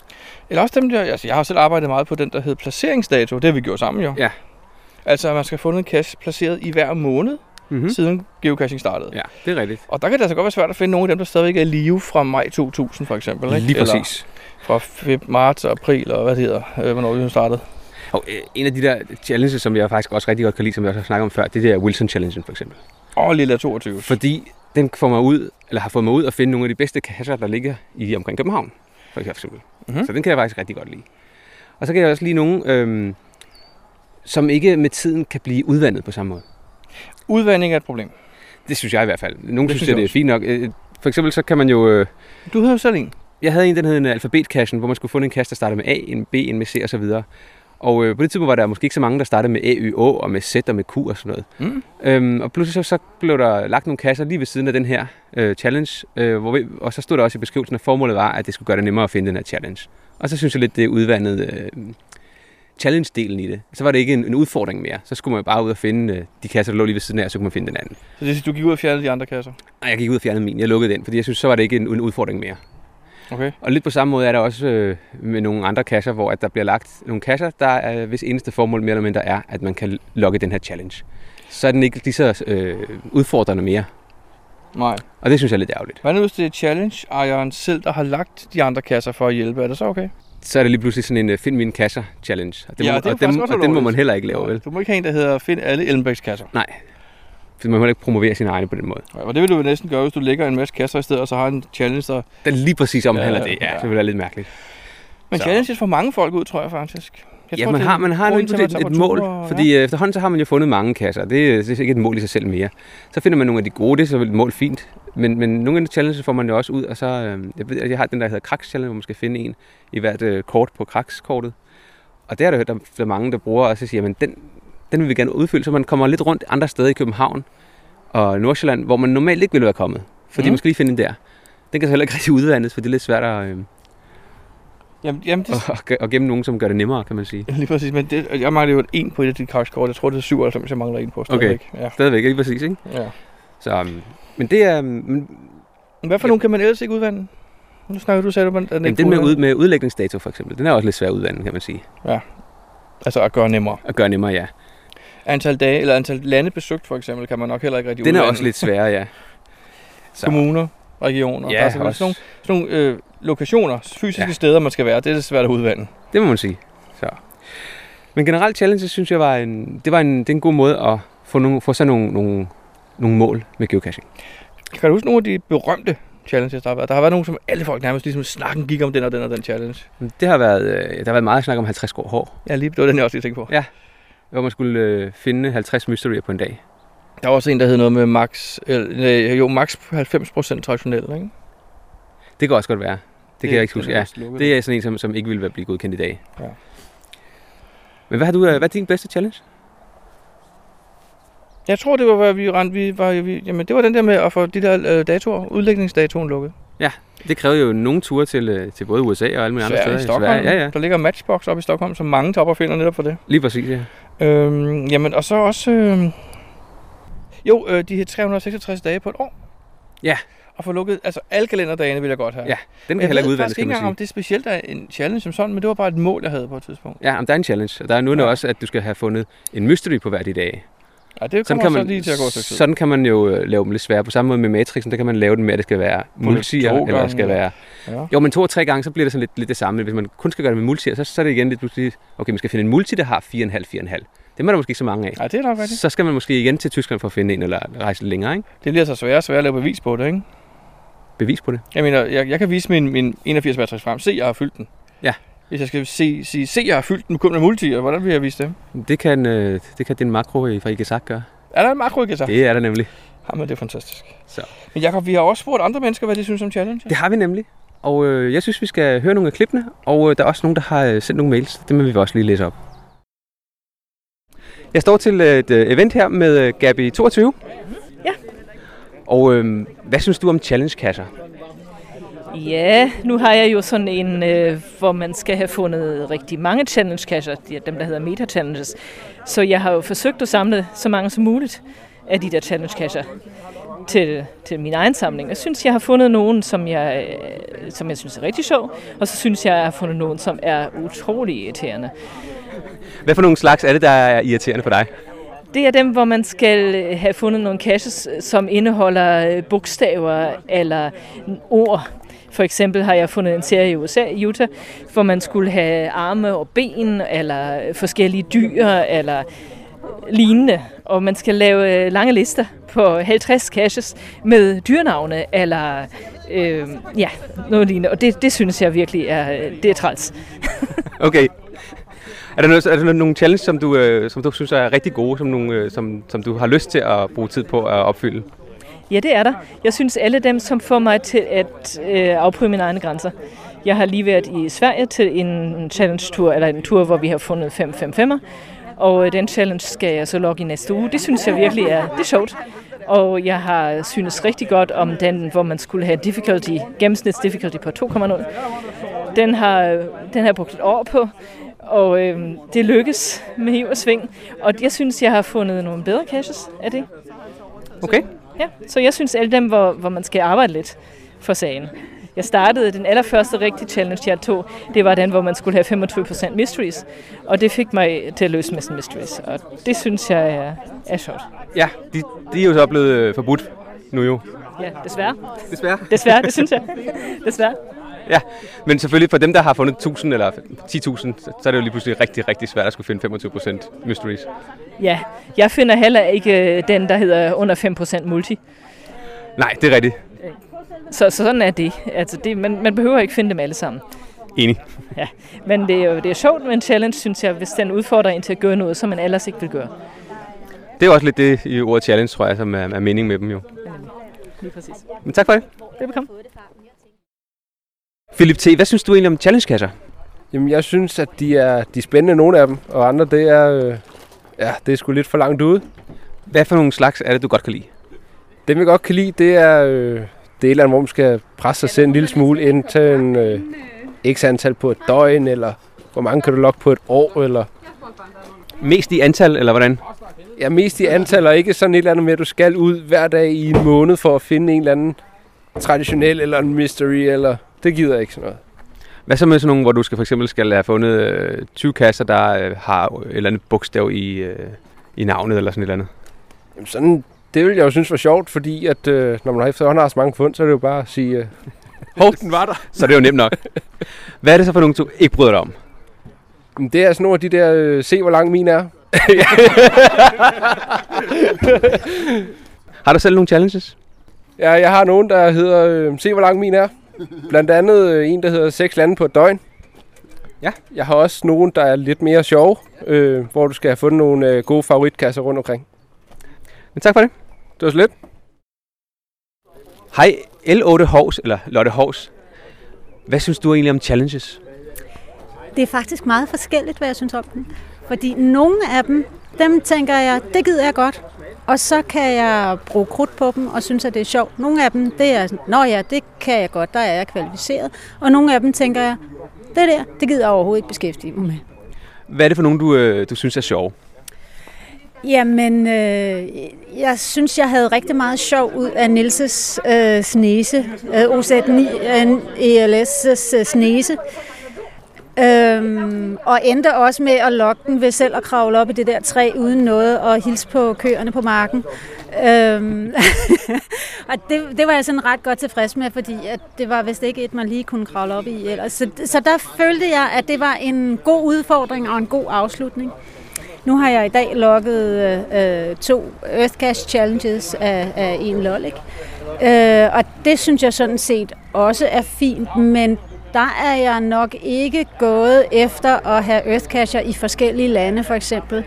Eller også dem der, altså jeg har jo selv arbejdet meget på den, der hed placeringsdato. Det har vi gjort sammen jo.
Ja.
Altså, at man skal have fundet en kasse placeret i hver måned,
Mm-hmm.
mm. siden geocaching startede.
Ja, det er rigtigt.
Og der kan det altså godt være svært at finde nogle af dem, der stadigvæk er i live fra maj 2000 for eksempel. Ikke?
Lige
Eller,
præcis.
fra feb- marts og april, og hvad det hedder, øh, hvornår vi startede.
Og, øh, en af de der challenges, som jeg faktisk også rigtig godt kan lide, som jeg også har snakket om før, det er der Wilson-challengen for eksempel.
Og lille 22.
Fordi den får mig ud, eller har fået mig ud at finde nogle af de bedste kasser, der ligger i omkring København, for eksempel. Mm-hmm.
Mhm.
Så den kan jeg faktisk rigtig godt lide. Og så kan jeg også lide nogle, øhm, som ikke med tiden kan blive udvandet på samme måde.
Udvandring er et problem.
Det synes jeg i hvert fald. Nogle
Det
synes,
synes
synes
jeg
det er
også.
fint nok. Øh, For eksempel så kan man jo... øh,
Du havde jo selv en.
jeg havde en, den hed en alfabetkassen, hvor man skulle finde en kasse, der startede med A, en B, en med C og så videre. Og øh, på det tidspunkt var der måske ikke så mange, der startede med A, Y, Å og med Z og med Q og sådan noget.
Mm.
Øhm, og pludselig så, så blev der lagt nogle kasser lige ved siden af den her øh, challenge, øh, hvor vi, og så stod der også i beskrivelsen, at formålet var, at det skulle gøre det nemmere at finde den her challenge. Og så synes jeg lidt, det udvandede øh, challenge-delen i det. Så var det ikke en, en udfordring mere. Så skulle man bare ud og finde øh, de kasser, der lå lige ved siden af, og så kunne man finde den anden.
Så det vil sige, du gik ud og fjernede de andre kasser.
Og jeg gik ud og fjernede min. Jeg lukkede den, fordi jeg synes, så var det ikke en, en udfordring mere.
Okay.
Og lidt på samme måde er der også øh, med nogle andre kasser, hvor at der bliver lagt nogle kasser, der øh, hvis eneste formål mere eller mindre er, at man kan lokke den her challenge. Så er den ikke lige så øh, udfordrende mere.
Nej.
Og det synes jeg er lidt ærgerligt.
Hvad nu hvis det er challenge-ejeren selv, der har lagt de andre kasser for at hjælpe? Er det så okay?
Så er det lige pludselig sådan en øh, find mine kasser challenge. Og, det
Ja,
må,
det er
og, dem,
faktisk også
og den må man
ulovligt.
heller ikke lave, vel?
Du må ikke have en, der hedder Find alle Elmbæks kasser.
For man må heller ikke promovere sine egne på den måde.
Og det vil du jo næsten gøre, hvis du lægger en masse kasser i stedet, og så har en challenge, der...
Den lige præcis omhandler
Ja,
det, ja,
ja.
det ville være lidt mærkeligt.
Men
Så-
challenges får mange folk ud, tror jeg faktisk. Jeg
ja,
tror,
man
det er
har, man har
grunden
lidt
til, at
et,
man tager
et
på
mål,
tur og-
fordi ja. efterhånden så har man jo fundet mange kasser. Det, det er ikke et mål i sig selv mere. Så finder man nogle af de gode, det er så et mål fint. Men, men nogle af de challenges får man jo også ud, og så, øh, jeg, ved, at jeg har den der hedder Kraks Challenge, hvor man skal finde en i hvert øh, kort på Kraks-kortet. Og der er der, der, der er mange, der bruger, og så siger, men den, den vil vi gerne udfylde, så man kommer lidt rundt andre steder i København og Nordsjælland, hvor man normalt ikke ville være kommet, fordi
Mm.
mm. man skal lige finde en der. Den kan så heller ikke rigtig udvandes, for det er lidt svært at, øh,
Jamen, jamen det,
[laughs] at, at gemme nogen, som gør det nemmere, kan man sige.
Lige præcis, men det, jeg mangler jo et en på et af dit krakskort. Jeg tror, det er 97, jeg mangler en på stadigvæk. Ja,
Stadigvæk, lige præcis, ikke?
ja.
Så, øhm, men det er... øhm, Men,
Men hvad for
Ja.
nogen kan man ellers ikke udvande? Nu snakker du, sagde du, at den
men
ikke
den med,
kunne
ud,
udvande.
med udlægningsdato, for eksempel, den er også lidt svær at udvande, kan man sige.
Altså at gøre nemmere.
At gøre nemmere, ja.
Antal dage eller antal lande besøgt, for eksempel, kan man nok heller ikke rigtig
Den er
udvande.
også lidt sværere, ja. Så,
Kommuner, regioner.
Ja,
der er sådan,
også.
sådan nogle, sådan nogle øh, lokationer, fysiske
Ja.
steder, man skal være. Det er svært at udvande.
det må man sige. Så. Men generelt challenge, synes jeg, var en, det var en, det er en god måde at få, nogle, få sig nogle, nogle, nogle mål med geocaching.
Kan du huske nogle af de berømte challenges, der har været? Der har været nogle, som alle folk nærmest ligesom snakken gik om den og den og den challenge.
Det har været, øh, der har været meget snak om 50 grå hår,
Ja, lige, det var den, jeg også lige tænkte på.
hvor man skulle øh, finde 50 mysterier på en dag.
Der var også en, der hed noget med max, eller, øh, jo, max 90% traditionel, ikke? Det,
Det kan også godt være. Det, det kan jeg ikke huske. Ja.
Det,
Det er sådan en, som, som ikke ville være blive godkendt i dag.
Ja.
Men hvad, har du, øh, hvad er din bedste challenge?
jeg tror, det var, hvad vi rendte. Vi var, vi, jamen, det var den der med at få de der øh, datoer, udlægningsdatoen lukket.
Det krævede jo nogle ture til, øh, til både USA og alle mulige andre
Sverige,
steder.
i
i
Stockholm.
Sverige. Ja, ja.
Der ligger Matchbox op i Stockholm, som mange tager op og finder netop for det.
Lige præcis, ja.
Øhm, jamen, og så også... Øhm, jo, øh, de her 366 dage på et år.
Ja.
Og få lukket... Altså, alle kalenderdagene vil jeg godt have.
Ja, Den kan
Jeg
heller ikke
ved
udvandes,
faktisk
kan
ikke
man
engang, om
sige.
det er specielt er en challenge som sådan, men det var bare et mål, jeg havde på et tidspunkt.
Ja, om der er en challenge. Og der er nu ja.
Ja.
også, at du skal have fundet en mystery på hver de dage.
Ja, det kommer så lige til at gå et stykke tid.
sådan kan man jo øh, lave dem lidt svære. På samme måde med Matrixen, der kan man lave dem med, at det skal være multier,
to
eller
gange,
det skal være...
Ja.
Jo, men to og tre gange, så bliver det sådan lidt, lidt det samme. Hvis man kun skal gøre det med multier, så, så er det igen lidt pludselig... Okay, man skal finde en multi, der har 4,5, 4,5. Dem er der måske ikke så mange af.
Ja, det er nok rigtigt.
Så skal man måske igen til Tyskland for at finde en, eller rejse lidt længere, ikke?
Det bliver så svært og sværere at lave bevis på det, ikke?
Bevis på det.
Jeg mener, jeg, jeg kan vise min, min 81 matrix frem. Se, jeg har fyldt den.
Ja.
Hvis jeg skal se, sige, se, jeg har fyldt den, kun med multier, hvordan vil jeg vise det?
Det kan, øh, det kan din makro i- fra Igesak gøre.
Er der en makro, ikke så?
Det er der nemlig.
Jamen, det er fantastisk.
Så.
Men Jacob, vi har også spurgt andre mennesker, hvad de synes om challenge.
Det har vi nemlig. Og øh, jeg synes, vi skal høre nogle af klippene, og øh, der er også nogen, der har øh, sendt nogle mails. Dem vil vi også lige læse op. Jeg står til øh, et øh, event her med øh, Gabi 22.
Ja.
Og øh, hvad synes du om challenge-kasser?
Ja, nu har jeg jo sådan en, øh, hvor man skal have fundet rigtig mange challenge-kasser, de er dem der hedder meta-challenges. Så jeg har jo forsøgt at samle så mange som muligt af de der challenge-kasser til, til min egen samling. Jeg synes, jeg har fundet nogen, som jeg, øh, som jeg synes er rigtig sjov, og så synes jeg, jeg har fundet nogen, som er utrolig irriterende.
Hvad for nogle slags er det, der er irriterende for dig? [laughs]
Det er dem, hvor man skal øh, have fundet nogle kasses, som indeholder øh, bogstaver eller ord. For eksempel har jeg fundet en serie i USA, i Utah, hvor man skulle have arme og ben, eller øh, forskellige dyr, eller øh, lignende. Og man skal lave øh, lange lister på 50 caches med dyrnavne, eller øh, ja, noget lignende. Og det, det synes jeg virkelig er, øh, det er træls.
Okay. Er der, noget, er der nogle challenge, som du, øh, som du synes er rigtig gode, som, nogle, øh, som, som du har lyst til at bruge tid på at opfylde?
Ja, det er der. Jeg synes, alle dem, som får mig til at øh, afprøve mine egne grænser. Jeg har lige været i Sverige til en challenge-tur, eller en tur, hvor vi har fundet 555'er. Og øh, den challenge skal jeg så logge i næste uge. Det synes jeg virkelig er, det er sjovt. Og jeg har synes rigtig godt om den, hvor man skulle have difficulty, gennemsnits difficulty på 2,0. Den har, den har jeg brugt et år på, og øh, det lykkes med hiv og sving. Og jeg synes, jeg har fundet nogle bedre caches af det.
Okay.
Altså, Ja, så jeg synes alle dem, hvor, hvor man skal arbejde lidt for sagen. Jeg startede den allerførste rigtige challenge, jeg tog, det var den, hvor man skulle have 25% mysteries. Og det fik mig til at løse massen mysteries, og det synes jeg er, er sjovt.
Ja, de, de er jo så blevet øh, forbudt nu jo.
Ja, desværre.
Desværre.
Desværre, det synes jeg. Desværre.
Ja, men selvfølgelig for dem, der har fundet 1000 eller 10.000, så er det jo lige pludselig rigtig, rigtig svært at skulle finde 25% mysteries.
Ja, jeg finder heller ikke øh, den, der hedder under 5% multi.
Nej, det er rigtigt.
Så, så sådan er det. Altså det man, man behøver ikke finde dem alle sammen.
Enig.
Ja. Men det er jo det er sjovt med en challenge, synes jeg, hvis den udfordrer en til at gøre noget, som man ellers ikke vil gøre.
Det er jo også lidt det i ordet challenge, tror jeg, som er, er mening med dem jo.
Lige præcis.
Men tak for det.
Velbekomme.
Philip T., hvad synes du egentlig om challenge-kasser?
Jamen, jeg synes, at de er, de er spændende, nogle af dem, og andre, det er, øh, ja, det er sgu lidt for langt ude.
Hvad for nogle slags er det, du godt kan lide?
Dem, jeg godt kan lide, det er, øh, det er et eller andet, hvor man skal presse sig selv en lille smule ind til en øh, x antal på et døgn, eller hvor mange kan du lokke på et år, eller
Mest i antal, eller hvordan?
ja, mest i antal, og ikke sådan et eller andet med, at du skal ud hver dag i en måned for at finde en eller anden traditionel, eller en mystery, eller det gider jeg ikke sådan noget.
Hvad så med sådan nogle, hvor du skal for eksempel skal have fundet øh, 20 kasser, der øh, har et eller andet bogstav i, øh, i navnet, eller sådan et eller andet?
Jamen sådan, det ville jeg jo synes var sjovt, fordi at, øh, når man har efterhånden har så mange fund, så er det jo bare at sige, øh,
Hov, den var der. Så det er jo nemt nok. Hvad er det så for nogle, du ikke bryder dig om?
"Men det er sådan nogle af de der, øh, se hvor lang min er.
[laughs] Har du selv nogle challenges?
Ja, jeg har nogen, der hedder, øh, se hvor lang min er. Blandt andet øh, en, der hedder seks lande på et døgn.
Ja.
Jeg har også nogen, der er lidt mere sjove, øh, hvor du skal have fundet nogle øh, gode favoritkasser rundt omkring.
Men tak for det.
Det var så lidt.
Hej, L8 Hovs, eller Lotte Hovs. Hvad synes du egentlig om challenges?
Det er faktisk meget forskelligt, hvad jeg synes om dem. Fordi nogle af dem, dem tænker jeg, det gider jeg godt. Og så kan jeg bruge krudt på dem og synes, at det er sjovt. Nogle af dem, det er sådan, nå ja, det kan jeg godt, der er jeg kvalificeret. Og nogle af dem tænker jeg, det der, det gider jeg overhovedet ikke beskæftige mig med.
Hvad er det for nogen, du, øh, du synes er sjove?
Jamen, øh, jeg synes, jeg havde rigtig meget sjov ud af Nilses øh, snese, øh, OZ9 øh, ELS' øh, snese. Øhm, og endte også med at lokke den ved selv at kravle op i det der træ uden noget og hilse på køerne på marken. Øhm, [laughs] og det, det var jeg sådan ret godt tilfreds med, fordi at det var vist ikke et, man lige kunne kravle op i ellers. Så, så der følte jeg, at det var en god udfordring og en god afslutning. Nu har jeg i dag lukket øh, øh, to Earthcast Challenges af, af en lolik. Øh, og det synes jeg sådan set også er fint, men der er jeg nok ikke gået efter at have Earthcatcher i forskellige lande for eksempel.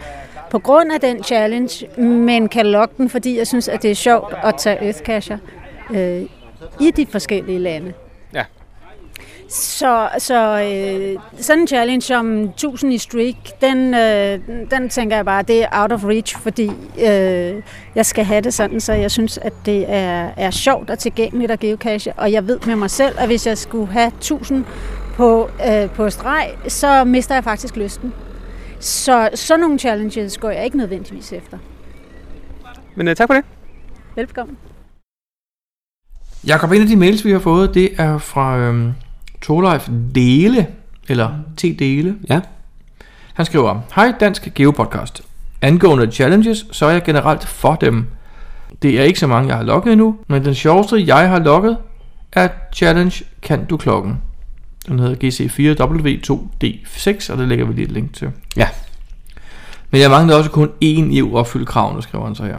På grund af den challenge, men kan lokke den, fordi jeg synes, at det er sjovt at tage Earthcatcher øh, i de forskellige lande.
Ja.
Så, så øh, sådan en challenge som 1000 i streak, den, øh, den tænker jeg bare, det er out of reach, fordi øh, jeg skal have det sådan, så jeg synes, at det er, er sjovt og tilgængeligt at geocache, og jeg ved med mig selv, at hvis jeg skulle have 1000 på, øh, på streg, så mister jeg faktisk lysten. Så sådan nogle challenges går jeg ikke nødvendigvis efter.
Men øh, tak for det.
Velkommen.
Jakob, en af de mails, vi har fået, det er fra øhm, Tolife Dele, eller T-Dele.
Ja.
Han skriver, Hej Dansk Geopodcast. Angående challenges, så er jeg generelt for dem. Det er ikke så mange, jeg har lukket endnu, men den sjoveste, jeg har lukket, er Challenge Kan Du Klokken. Den hedder GC4W2D6, og det lægger vi lige et link til.
Ja.
Men jeg mangler også kun én i at opfylde kravene, skriver han så her.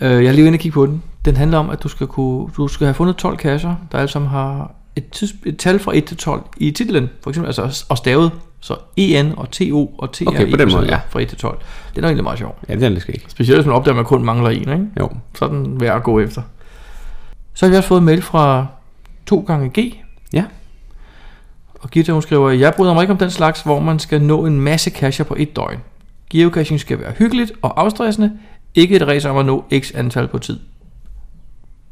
Øh, jeg er lige inde og kigge på den. Den handler om, at du skal, kunne, du skal have fundet 12 kasser, der alle sammen har et, tids, et tal fra 1 til 12 i titlen. For eksempel altså, og stavet. Så EN og TO og E. TR
Okay, på den måde, ja.
fra 1 til 12. Det er nok egentlig meget sjovt.
Ja, det er lidt skægt.
Specielt hvis man opdager, at man kun mangler en, ikke?
Jo.
Så er den værd at gå efter. Så har vi også fået en mail fra 2 gange G.
Ja.
Og Gita, hun skriver, jeg bryder mig ikke om den slags, hvor man skal nå en masse cacher på et døgn. Geocaching skal være hyggeligt og afstressende, ikke et race om at nå x antal på tid.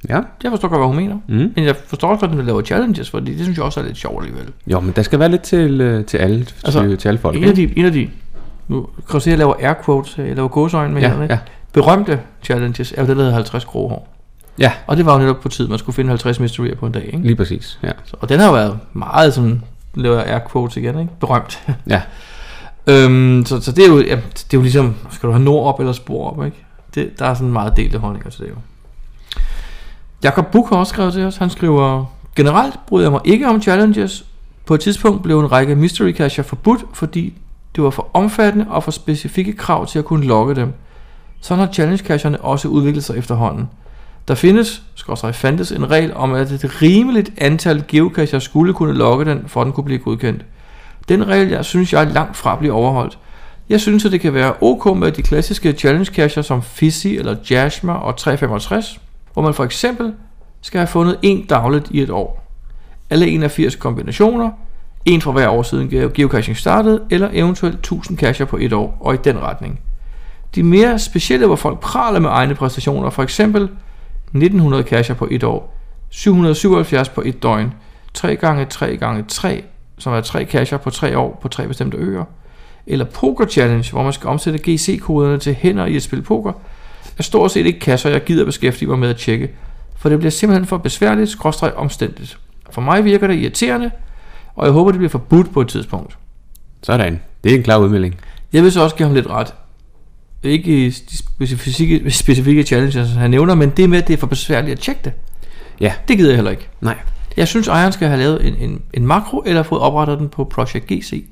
Ja.
Jeg forstår godt, hvad hun mener.
Mm.
Men jeg forstår også, at den laver challenges, fordi det synes jeg også er lidt sjovt alligevel.
Jo, men der skal være lidt til, øh, til alle, altså, til, til alle folk.
en
ikke?
af de, en af de nu kan du se, at jeg laver air quotes, jeg laver gåsøjne med
Ja,
hinanden, ikke?
ja.
Berømte challenges er jo det, der hedder 50 grå hår.
Ja.
Og det var jo netop på tid, man skulle finde 50 mysterier på en dag, ikke?
Lige præcis, ja.
Så, og den har jo været meget sådan, nu laver jeg air quotes igen, ikke? Berømt.
[laughs] Ja.
øhm, så, så det er jo, ja, det er jo ligesom, skal du have nord op eller spor op, ikke? Det, der er sådan meget delte holdninger til det jo. Jakob Buch har også skrevet til os, han skriver, generelt bryder jeg mig ikke om challenges. På et tidspunkt blev en række mystery cacher forbudt, fordi det var for omfattende og for specifikke krav til at kunne lokke dem. Sådan har challenge cacherne også udviklet sig efterhånden. Der findes, skorstræk fandtes, en regel om, at et rimeligt antal geocacher skulle kunne lokke den, for at den kunne blive godkendt. Den regel, jeg synes, jeg er langt fra bliver overholdt. Jeg synes, at det kan være ok med de klassiske challenge cacher som Fizzy eller Jasmer og 365, hvor man for eksempel skal have fundet en dagligt i et år. Alle 81 kombinationer, en fra hver år siden ge- geocaching startede, eller eventuelt 1000 cacher på et år, og i den retning. De mere specielle, hvor folk praler med egne præstationer, for eksempel 1900 cacher på et år, 777 på et døgn, 3 gange 3 gange 3, som er 3 cacher på 3 år på tre bestemte øer, eller Poker Challenge, hvor man skal omsætte GC-koderne til hænder i et spil poker, er stort set ikke kasser, jeg gider beskæftige mig med at tjekke, for det bliver simpelthen for besværligt, skråstreg omstændigt. For mig virker det irriterende, og jeg håber, det bliver forbudt på et tidspunkt.
Sådan. Det er en klar udmelding.
Jeg vil så også give ham lidt ret. Ikke i de specifikke, specifikke challenges, han nævner, men det med, at det er for besværligt at tjekke det.
Ja.
Det gider jeg heller ikke.
Nej.
Jeg synes, ejeren skal have lavet en, en, en makro, eller fået oprettet den på Project GC.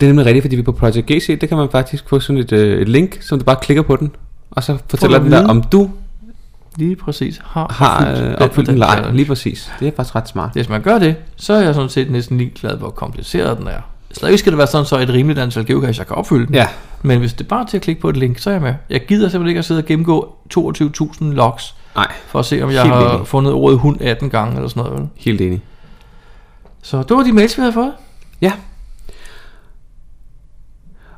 Det er nemlig rigtigt, fordi vi på Project GC, der kan man faktisk få sådan et, øh, et link, som du bare klikker på den, og så fortæller
du
den dig,
viden?
om du
Lige præcis har,
har øh, opfyldt
den
den eller ej.
challenge.
Lige præcis. Det er faktisk ret smart.
Hvis man gør det, så er jeg sådan set næsten lige glad, hvor kompliceret den er. Stadig skal det være sådan, så et rimeligt antal geocache, jeg kan opfylde den.
Ja.
Men hvis det bare er til at klikke på et link, så er jeg med. Jeg gider simpelthen ikke at sidde og gennemgå 22.000 logs,
Nej,
for at se, om jeg
Helt
har
enig.
fundet ordet hund 18 gange eller sådan noget. vel?
helt enig.
Så det var de mails, vi havde fået.
Ja.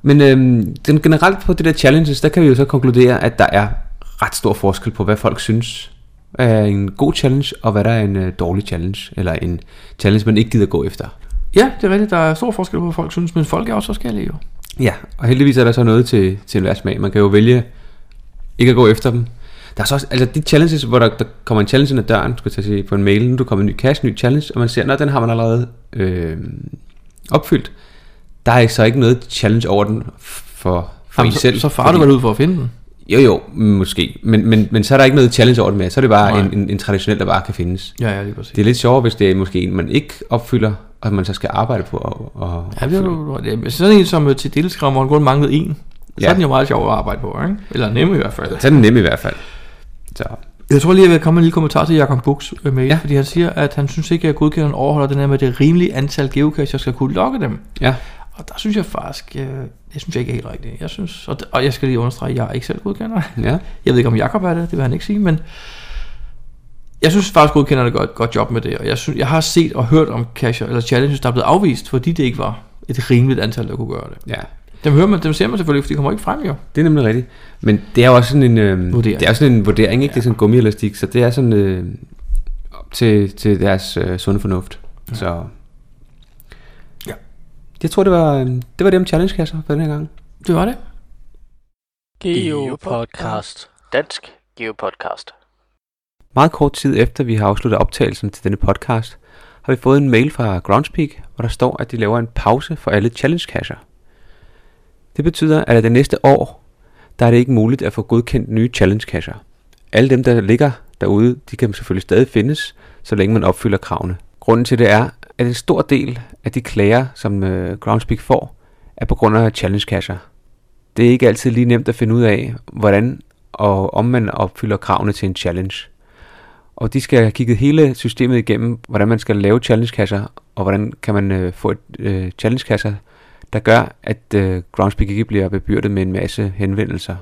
Men øhm, den generelt på det der challenges, der kan vi jo så konkludere, at der er ret stor forskel på, hvad folk synes er en god challenge, og hvad der er en øh, dårlig challenge, eller en challenge, man ikke gider gå efter.
Ja, det er rigtigt. Der er stor forskel på, hvad folk synes, men folk er også forskellige jo.
Ja, og heldigvis er der så noget til, til enhver smag. Man kan jo vælge ikke at gå efter dem. Der er så også, altså de challenges, hvor der, der kommer en challenge ind ad døren, skulle jeg til at sige, på en mail, nu er der kommer en ny cash, ny challenge, og man ser, at den har man allerede øh, opfyldt. Der er så ikke noget challenge over den for, for Jamen, I
så,
selv.
så farer du vel ud for at finde den.
Jo, jo, måske. Men, men, men så er der ikke noget challenge over det mere. Så er det bare
Nej.
en, en, en, traditionel, der bare kan findes.
Ja, ja, lige præcis.
Det er lidt sjovere, hvis det er måske en, man ikke opfylder, og man så skal arbejde på. Og, og
Ja, det er jo det er- men sådan en som øh, til delskram, hvor han kun manglede en. Så
Ja.
er den jo meget sjov at arbejde på, ikke? Eller nemme i hvert fald.
Så er den nemme Altså, i hvert fald. Så,
Jeg tror lige, jeg vil komme med en lille kommentar til Jakob Buchs øh, mail, ja.
Ja.
fordi han siger, at han synes ikke, at godkenderen overholder den her med at det rimelige antal geocacher skal kunne lokke dem.
ja.
Og der synes jeg faktisk, øh, det synes jeg ikke er helt rigtigt. Jeg synes, og, og jeg skal lige understrege, at jeg er ikke selv godkender.
Ja,
Jeg ved ikke, om Jakob er det, det vil han ikke sige, men jeg synes faktisk, godkenderne gør et godt job med det, og jeg, synes, jeg har set og hørt om cacher eller challenges, der er blevet afvist, fordi det ikke var et rimeligt antal, der kunne gøre det.
ja.
Dem, hører man, dem ser man selvfølgelig, for de kommer ikke frem jo.
Det er nemlig rigtigt. Men det er jo også sådan en, øh,
Vurdering.
det er også sådan en vurdering, ikke? Ja. Det er sådan en gummielastik, så det er sådan øh, op til, til deres øh, sunde fornuft. Ja. Så
Ja.
Jeg tror, det var, øh, det var det om challengekasser for den her gang.
Det var det.
Geo Podcast. Dansk Geo Podcast.
Meget kort tid efter vi har afsluttet optagelsen til denne podcast, har vi fået en mail fra Groundspeak, hvor der står, at de laver en pause for alle challenge-kasser. Det betyder, at af det næste år, der er det ikke muligt at få godkendt nye challenge-kasser. Alle dem, der ligger derude, de kan selvfølgelig stadig findes, så længe man opfylder kravene. Grunden til det er, at en stor del af de klager, som øh, Groundspeak får, er på grund af challenge-kasser. Det er ikke altid lige nemt at finde ud af, hvordan og om man opfylder kravene til en challenge. Og de skal have kigget hele systemet igennem, hvordan man skal lave challengekasser, og hvordan kan man øh, få et øh, challengekasser, der gør, at øh, Groundspeak ikke bliver bebyrdet med en masse henvendelser.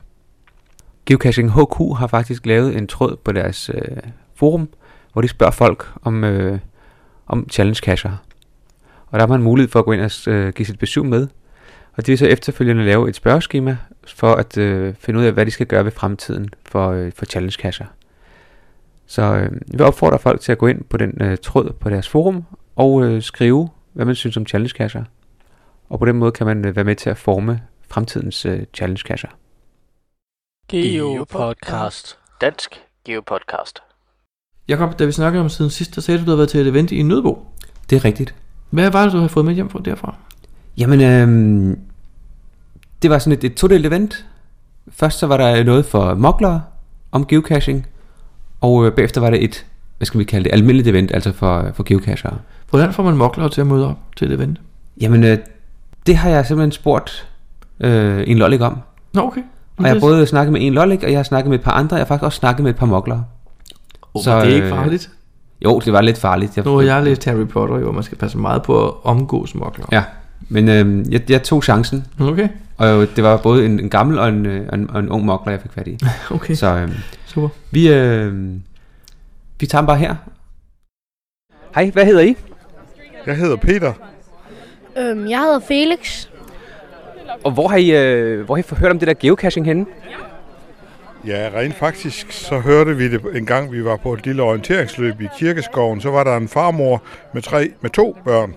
Geocaching HQ har faktisk lavet en tråd på deres øh, forum, hvor de spørger folk om, øh, om challenge casher. Og der har man mulighed for at gå ind og øh, give sit besøg med, og de vil så efterfølgende lave et spørgeskema for at øh, finde ud af, hvad de skal gøre ved fremtiden for, øh, for challenge casher. Så øh, jeg vil opfordre folk til at gå ind på den øh, tråd på deres forum og øh, skrive, hvad man synes om challenge casher. Og på den måde kan man øh, være med til at forme fremtidens øh, challenge casher.
Geo Podcast. Dansk Geo Podcast.
Jakob, da vi snakkede om siden sidst, der sagde du, du havde været til et event i Nødbo.
Det er rigtigt.
Hvad var det, du havde fået med hjem fra derfra?
Jamen, øh, det var sådan et, et todelt event. Først så var der noget for moklere om geocaching, og øh, bagefter var det et, hvad skal vi kalde det, almindeligt event, altså for, for geocachere.
Hvordan får man mokler til at møde op til et event?
Jamen, øh, det har jeg simpelthen spurgt øh, en lollik om.
Nå, okay.
Og jeg har både snakket med en lollik, og jeg har snakket med et par andre, jeg har faktisk også snakket med et par moklere.
oh,
så,
så, det er ikke
øh,
farligt.
Jo, det var lidt farligt. Jeg,
Nu har jeg læst Harry Potter, jo, og man skal passe meget på at omgås mokler.
Ja, men øh, jeg, jeg tog chancen,
Okay,
og det var både en, en gammel og en, øh, og en, og en ung mokler, jeg fik fat i.
[laughs] okay. Så.
Så øh,
Super.
Vi, øh, vi tager dem bare her. Hej, hvad hedder I?
Jeg hedder Peter.
Øhm, jeg hedder Felix.
Og hvor har I, øh, hvor har I fået hørt om det der geocaching henne?
Ja, rent faktisk, så hørte vi det en gang, vi var på et lille orienteringsløb i Kirkeskoven. Så var der en farmor med, tre, med to børn,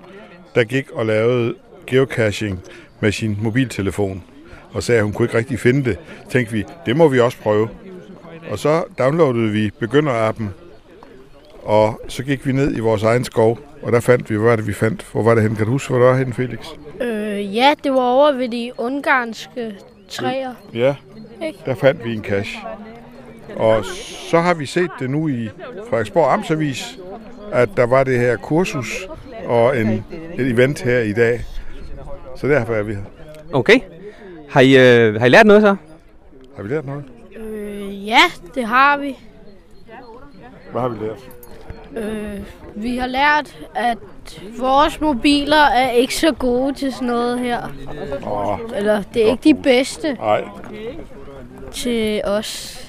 der gik og lavede geocaching med sin mobiltelefon. Og sagde, at hun kunne ikke rigtig finde det. Så tænkte vi, det må vi også prøve. Og så downloadede vi begynderappen, og så gik vi ned i vores egen skov, og der fandt vi, hvad var det, vi fandt? Hvor var det henne? Kan du huske, hvor det var henne, Felix?
Øh, ja, det var over ved de ungarske træer.
Ja,
Ikke?
der fandt vi en cash. Og så har vi set det nu i Frederiksborg Amtsavis, at der var det her kursus og en, et event her i dag. Så derfor er vi her.
Okay. Har I, øh, har I lært noget så?
Har vi lært noget?
Øh, ja, det har vi.
Hvad har vi lært?
Øh, vi har lært, at vores mobiler er ikke så gode til sådan noget her.
Åh,
Eller det er ikke de bedste
nej.
til os.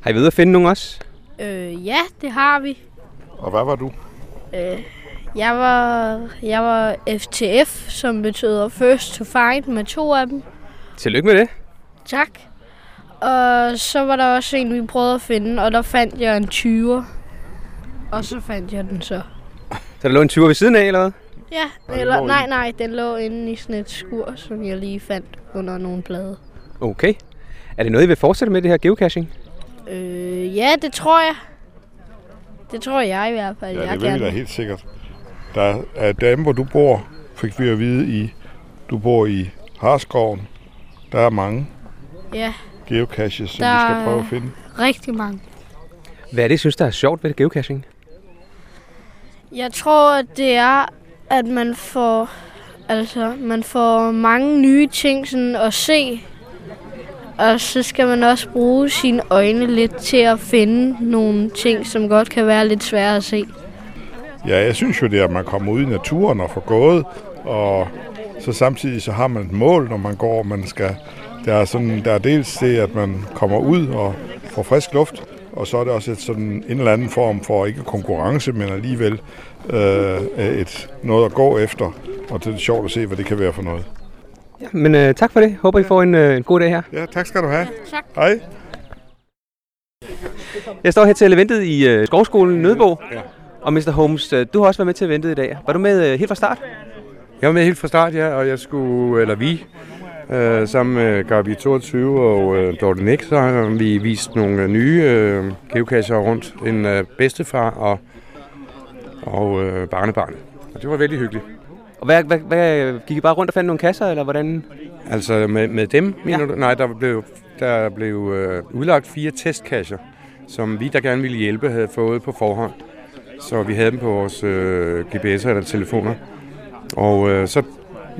Har I været ude at finde nogen også?
Øh, ja, det har vi.
Og hvad var du?
Øh, jeg var, jeg var FTF, som betyder First to Find med to af dem.
Tillykke med det.
Tak. Og så var der også en, vi prøvede at finde, og der fandt jeg en 20'er. Og så fandt jeg den så.
Så der lå en 20 ved siden af, eller hvad?
Ja,
den
eller
lå
nej, nej, den lå inde i sådan et skur, som jeg lige fandt under nogle blade.
Okay. Er det noget, I vil fortsætte med, det her geocaching?
Øh, ja, det tror jeg. Det tror jeg i hvert fald,
Ja,
jeg
det ved vi da helt sikkert. Der er dem, hvor du bor, fik vi at vide i. Du bor i Harskoven. Der er mange
Ja,
geocaches, som vi
Der-
skal prøve at finde.
rigtig mange.
Hvad er det, I synes, der er sjovt ved geocaching?
Jeg tror, at det er, at man får, altså, man får mange nye ting sådan, at se. Og så skal man også bruge sine øjne lidt til at finde nogle ting, som godt kan være lidt svære at se.
Ja, jeg synes jo det, er, at man kommer ud i naturen og får gået, og så samtidig så har man et mål, når man går, man skal, der er, sådan, der er dels det, at man kommer ud og får frisk luft, og så er det også et sådan, en eller anden form for, ikke konkurrence, men alligevel øh, et, noget at gå efter, og det er sjovt at se, hvad det kan være for noget.
Ja, men øh, tak for det. Håber, I får en, øh, en god dag her.
Ja, tak skal du have.
Tak.
Hej.
Jeg står her til eventet i øh, Skovskolen i Nødbo.
Ja.
Og Mr. Holmes, øh, du har også været med til eventet i dag. Var du med øh, helt fra start?
Jeg var med helt fra start, ja, og jeg skulle, eller vi, øh, sammen med Gabi 22 og øh, Dorte Nick, så har vi vist nogle øh, nye øh, geocacher rundt. En øh, bedstefar og, og øh, barnebarn. Og det var vældig hyggeligt.
Og hvad, hvad, hvad, gik I bare rundt og fandt nogle kasser, eller hvordan?
Altså med, med dem, mener
Ja.
ja. du? Nej, der blev, der blev øh, udlagt fire testkasser, som vi, der gerne ville hjælpe, havde fået på forhånd. Så vi havde dem på vores øh, GPS'er eller telefoner. Og øh, så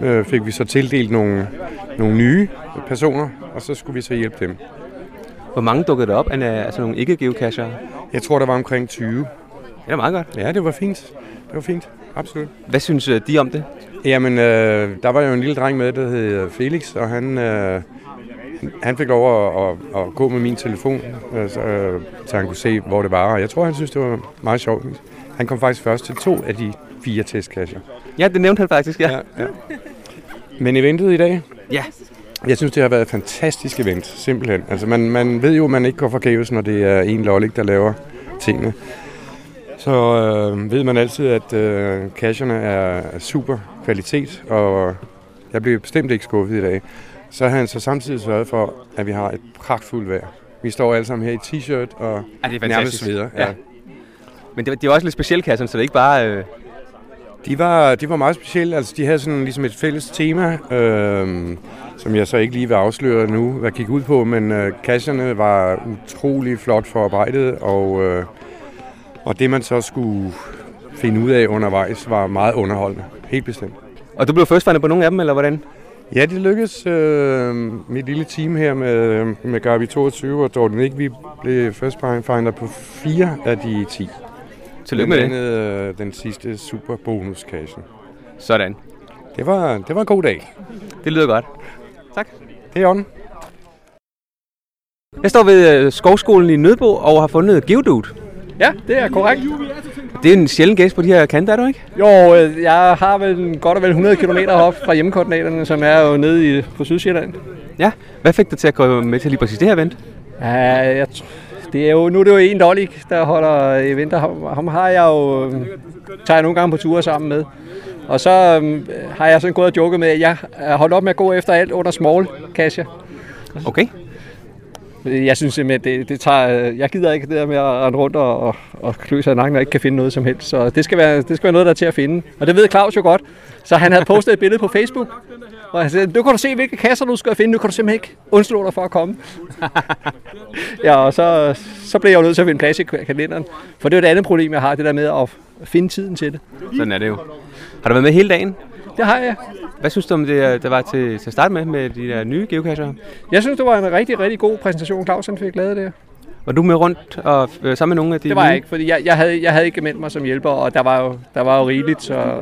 øh, fik vi så tildelt nogle, nogle nye personer, og så skulle vi så hjælpe dem.
Hvor mange dukkede der op af altså nogle ikke-geocacher?
Jeg tror, der var omkring 20.
Det er meget godt.
Ja, det var fint. Det var fint. Absolut.
Hvad synes øh, de om det?
Jamen, øh, der var jo en lille dreng med, der hed øh, Felix, og han øh, Han fik lov at, at, at gå med min telefon, øh, så, øh, så han kunne se, hvor det var. Og jeg tror, han synes, det var meget sjovt. Han kom faktisk først til to af de fire testkasser.
Ja, det nævnte han faktisk, ja.
ja, ja. Men eventet i dag,
Ja.
jeg synes, det har været et fantastisk event, simpelthen. Altså, man, man ved jo, man ikke går forgæves, når det er en lollik, der laver tingene. Så øh, ved man altid, at øh, casherne er er super kvalitet, og jeg blev bestemt ikke skuffet i dag. Så har han så samtidig sørget for, at vi har et pragtfuldt vejr. Vi står alle sammen her i t-shirt og
Ja, det er
nærmest
fantastisk.
sveder.
Ja. Men det, det var også lidt specielt, kasserne, så det er ikke bare... Øh...
De var, de var meget specielle. Altså, de havde sådan ligesom et fælles tema, øh, som jeg så ikke lige vil afsløre nu, hvad gik ud på, men øh, kasserne var utrolig flot forarbejdet, og, øh, og det man så skulle finde ud af undervejs, var meget underholdende. Helt bestemt.
Og du blev førstfandet på nogle af dem, eller hvordan?
Ja, det lykkedes. Øh, mit lille team her med, øh, med Gabi 22 og Dorten Nick, vi blev first finder på fire af de 10.
Tillykke med
Blandt
det.
andet, øh, den sidste super bonuskassen.
Sådan.
Det var, det var en god dag.
Det lyder godt.
Det er on.
Jeg står ved øh, Skovskolen i Nødbo og har fundet Geodude.
Ja, det er korrekt.
Det er en sjælden gæst på de her kanter, er du ikke?
Jo, øh, jeg har vel en- godt og vel 100 km op fra hjemmekoordinaterne, som er jo nede i, på Sydsjælland.
Ja. Hvad fik dig til at komme med til lige præcis det her event?
Ja, jeg tr- det er jo, nu er det jo en dollik, der holder eventer. Ham, ham har jeg jo, øh, tager jeg nogle gange på ture sammen med. Og så øhm, har jeg sådan gået og joket med, at jeg er holdt op med at gå efter alt under small kasser.
Okay.
Jeg synes simpelthen, det, det tager, øh, jeg gider ikke det der med at rende rundt og, og, og klø sig i nakken og ikke kan finde noget som helst. Så det skal, være, det skal være noget, der er til at finde. Og det ved Claus jo godt. Så han havde postet et billede på Facebook. Og han sagde, nu kan du se, hvilke kasser du skal finde. Nu kan du simpelthen ikke undslå dig for at komme. [laughs] ja, og så, så blev jeg jo nødt til at finde plads i kalenderen. For det er jo det andet problem, jeg har, det der med at finde tiden til det.
Sådan er det jo. Har du været med hele dagen?
Det har jeg.
Hvad synes du om det, øh, der var til, til at starte med, med de der nye geokasser?
Jeg synes, det var en rigtig, rigtig god præsentation, Claus han fik lavet der.
Var du med rundt og øh, sammen med nogle af de
Det var
nye?
jeg ikke, fordi jeg, jeg, havde, jeg havde ikke meldt mig som hjælper, og der var jo, der var jo rigeligt, så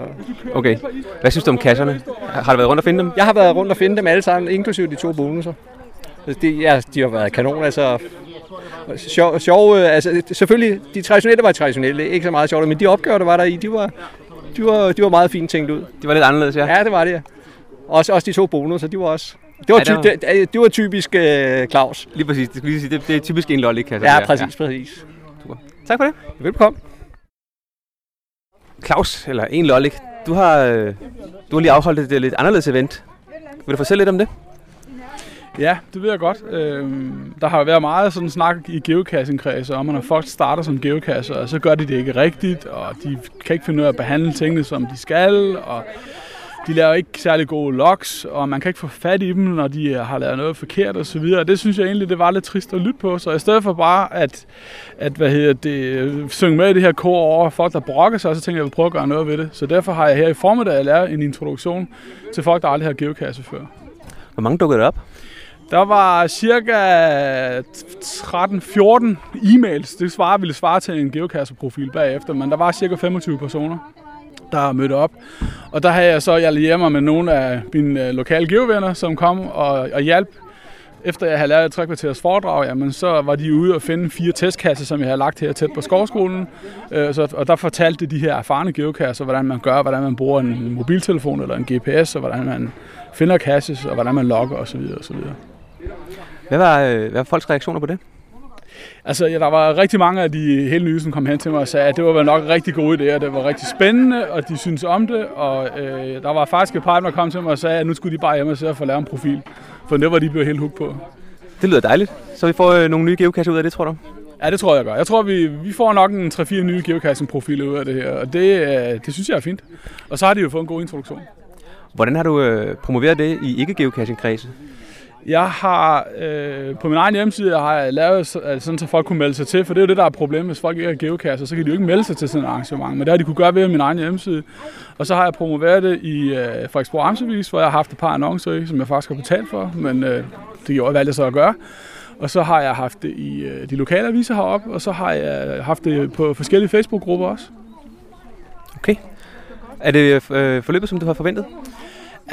Okay. Hvad synes du om kasserne? Har har du været rundt og finde dem?
Jeg har været rundt og finde dem alle sammen, inklusive de to bonusser. Altså, De, ja, de har været kanon, altså. Sjov, sjov, øh, altså selvfølgelig, de traditionelle var traditionelle, ikke så meget sjovt, men de opgaver, der var der i, de var, de var, de var meget fint tænkt ud.
De var lidt anderledes, ja.
Ja, det var det, ja. Også, også de to bonusser, de var også... Det var,
Ja, det
ty- det, det, det var typisk øh, Claus.
Lige præcis. Det, skulle lige sige, det, det er typisk en lollik kasse.
Ja, præcis, præcis.
Tak for det.
Velkommen.
Claus, eller en lollik, du har, øh, du har lige afholdt et øh, lidt anderledes event. Vil du fortælle lidt om det?
Ja, det ved jeg godt. Øhm, der har jo været meget sådan snak i geokassenkredse om, at når folk starter som geokasser, og så gør de det ikke rigtigt, og de kan ikke finde ud af at behandle tingene, som de skal, og de laver ikke særlig gode logs, og man kan ikke få fat i dem, når de øh, har lavet noget forkert og så videre. Det synes jeg egentlig, det var lidt trist at lytte på, så i stedet for bare at, at hvad hedder det, øh, synge med i det her kor over folk, der brokker sig, så tænkte jeg, at jeg vil prøve at gøre noget ved det. Så derfor har jeg her i formiddag lavet en introduktion til folk, der aldrig har geokasse før.
Hvor mange dukkede der op?
Der var cirka 13-14 e-mails. Det svarer, ville svare til en geokasseprofil bagefter, men der var cirka 25 personer, der mødte op. Og der havde jeg så, jeg lærte mig med nogle af mine øh, lokale geovenner, som kom og, og hjalp. Efter jeg havde lavet et tre kvarters foredrag, jamen, så var de ude og finde fire testkasser, som jeg havde lagt her tæt på skovskolen. Øh, så, og der fortalte de de her erfarne geokasser, hvordan man gør, hvordan man bruger en mobiltelefon eller en GPS, og hvordan man finder kasses, og hvordan man logger osv. osv.
Hvad var, øh, hvad var folks reaktioner på det?
Altså, ja, der var rigtig mange af de hele nye, som kom hen til mig og sagde, at det var vel nok en rigtig god idé, og det var rigtig spændende, og de syntes om det, og øh, der var faktisk et par, af dem, der kom til mig og sagde, at nu skulle de bare hjem og sidde og få lavet en profil, for det var de blevet helt hooked på.
Det lyder dejligt. Så vi får øh, nogle nye geokasser ud af det, tror du?
Ja, det tror jeg jeg gør. Jeg tror, vi, vi får nok en 3-4 nye geocaching-profiler ud af det her, og det, øh, det synes jeg er fint. Og så har de jo fået en god introduktion.
Hvordan har du øh, promoveret det i ikke-geocaching-kredse?
Jeg har øh, på min egen hjemmeside har jeg lavet så- altså sådan, så folk kunne melde sig til, for det er jo det, der er problemet. Hvis folk ikke er geokasser, så kan de jo ikke melde sig til sådan et arrangement. Men det har de kunne gøre ved min egen hjemmeside. Og så har jeg promoveret det i øh, Frederiksborg Amtsavis, hvor jeg har haft et par annoncer i, som jeg faktisk har betalt for, men øh, det gjorde jeg valgte så at gøre. Og så har jeg haft det i øh, de lokale aviser heroppe, og så har jeg haft det på forskellige Facebook-grupper også.
Er det øh, forløbet, som du har forventet?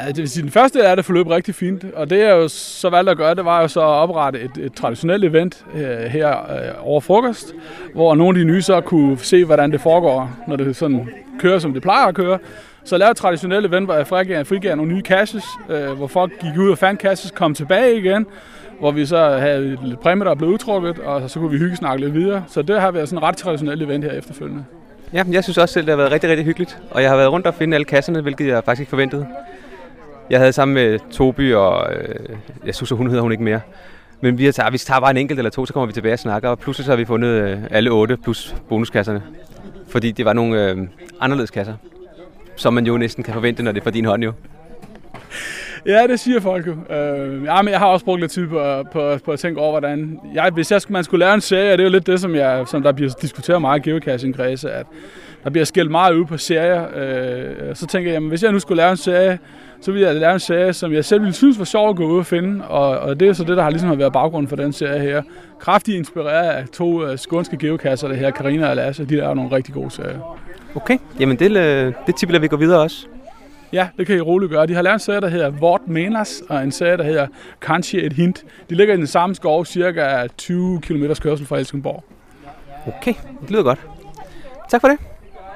Ja, det vil sige, den første er, at det forløb rigtig fint, og det jeg jo så valgte at gøre, det var jo så at oprette et, et traditionelt event øh, her øh, over frokost, hvor nogle af de nye så kunne se, hvordan det foregår, når det sådan kører, som det plejer at køre. Så jeg lavede et traditionelt event, hvor jeg frigav, frigav nogle nye caches, øh, hvor folk gik ud og fandt caches, kom tilbage igen, hvor vi så havde lidt præmie, der blev udtrukket, og så kunne vi hygge snakke lidt videre. Så det har været sådan et ret traditionelt event her efterfølgende.
Ja, jeg synes også selv, det har været rigtig, rigtig hyggeligt. Og jeg har været rundt og finde alle kasserne, hvilket jeg faktisk ikke forventede. Jeg havde sammen med Tobi og... Øh, jeg synes, hun hedder hun ikke mere. Men vi tager, vi tager bare en enkelt eller to, så kommer vi tilbage og snakker. Og pludselig så har vi fundet øh, alle otte plus bonuskasserne. Fordi det var nogle øh, anderledes kasser. Som man jo næsten kan forvente, når det er fra din hånd jo.
Ja, det siger folk jo. Øh, ja, men jeg har også brugt lidt tid på, på, på at tænke over, hvordan... Jeg, hvis jeg, skulle- man skulle lære en serie, og det er jo lidt det, som, jeg, som der bliver diskuteret meget i geocaching kredse, at der bliver skældt meget ud på serier. Øh, så tænker jeg, jamen, hvis jeg nu skulle lære en serie, så ville jeg lave en serie, som jeg selv ville synes var sjov at gå ud og finde. Og, og det er så det, der har ligesom har været baggrunden for den serie her. Kraftigt inspireret af to øh, skånske geocachere, det her, Karina og Lasse, de laver nogle rigtig gode serier.
Okay, jamen det, øh, det tip, vi går videre også.
Ja, det kan I roligt gøre. De har lavet en serie, der hedder Vort Menas, og en serie, der hedder Kanskje et hint. De ligger i den samme skov, cirka 20 km kørsel fra Helsingborg.
Okay, det lyder godt. Tak for det.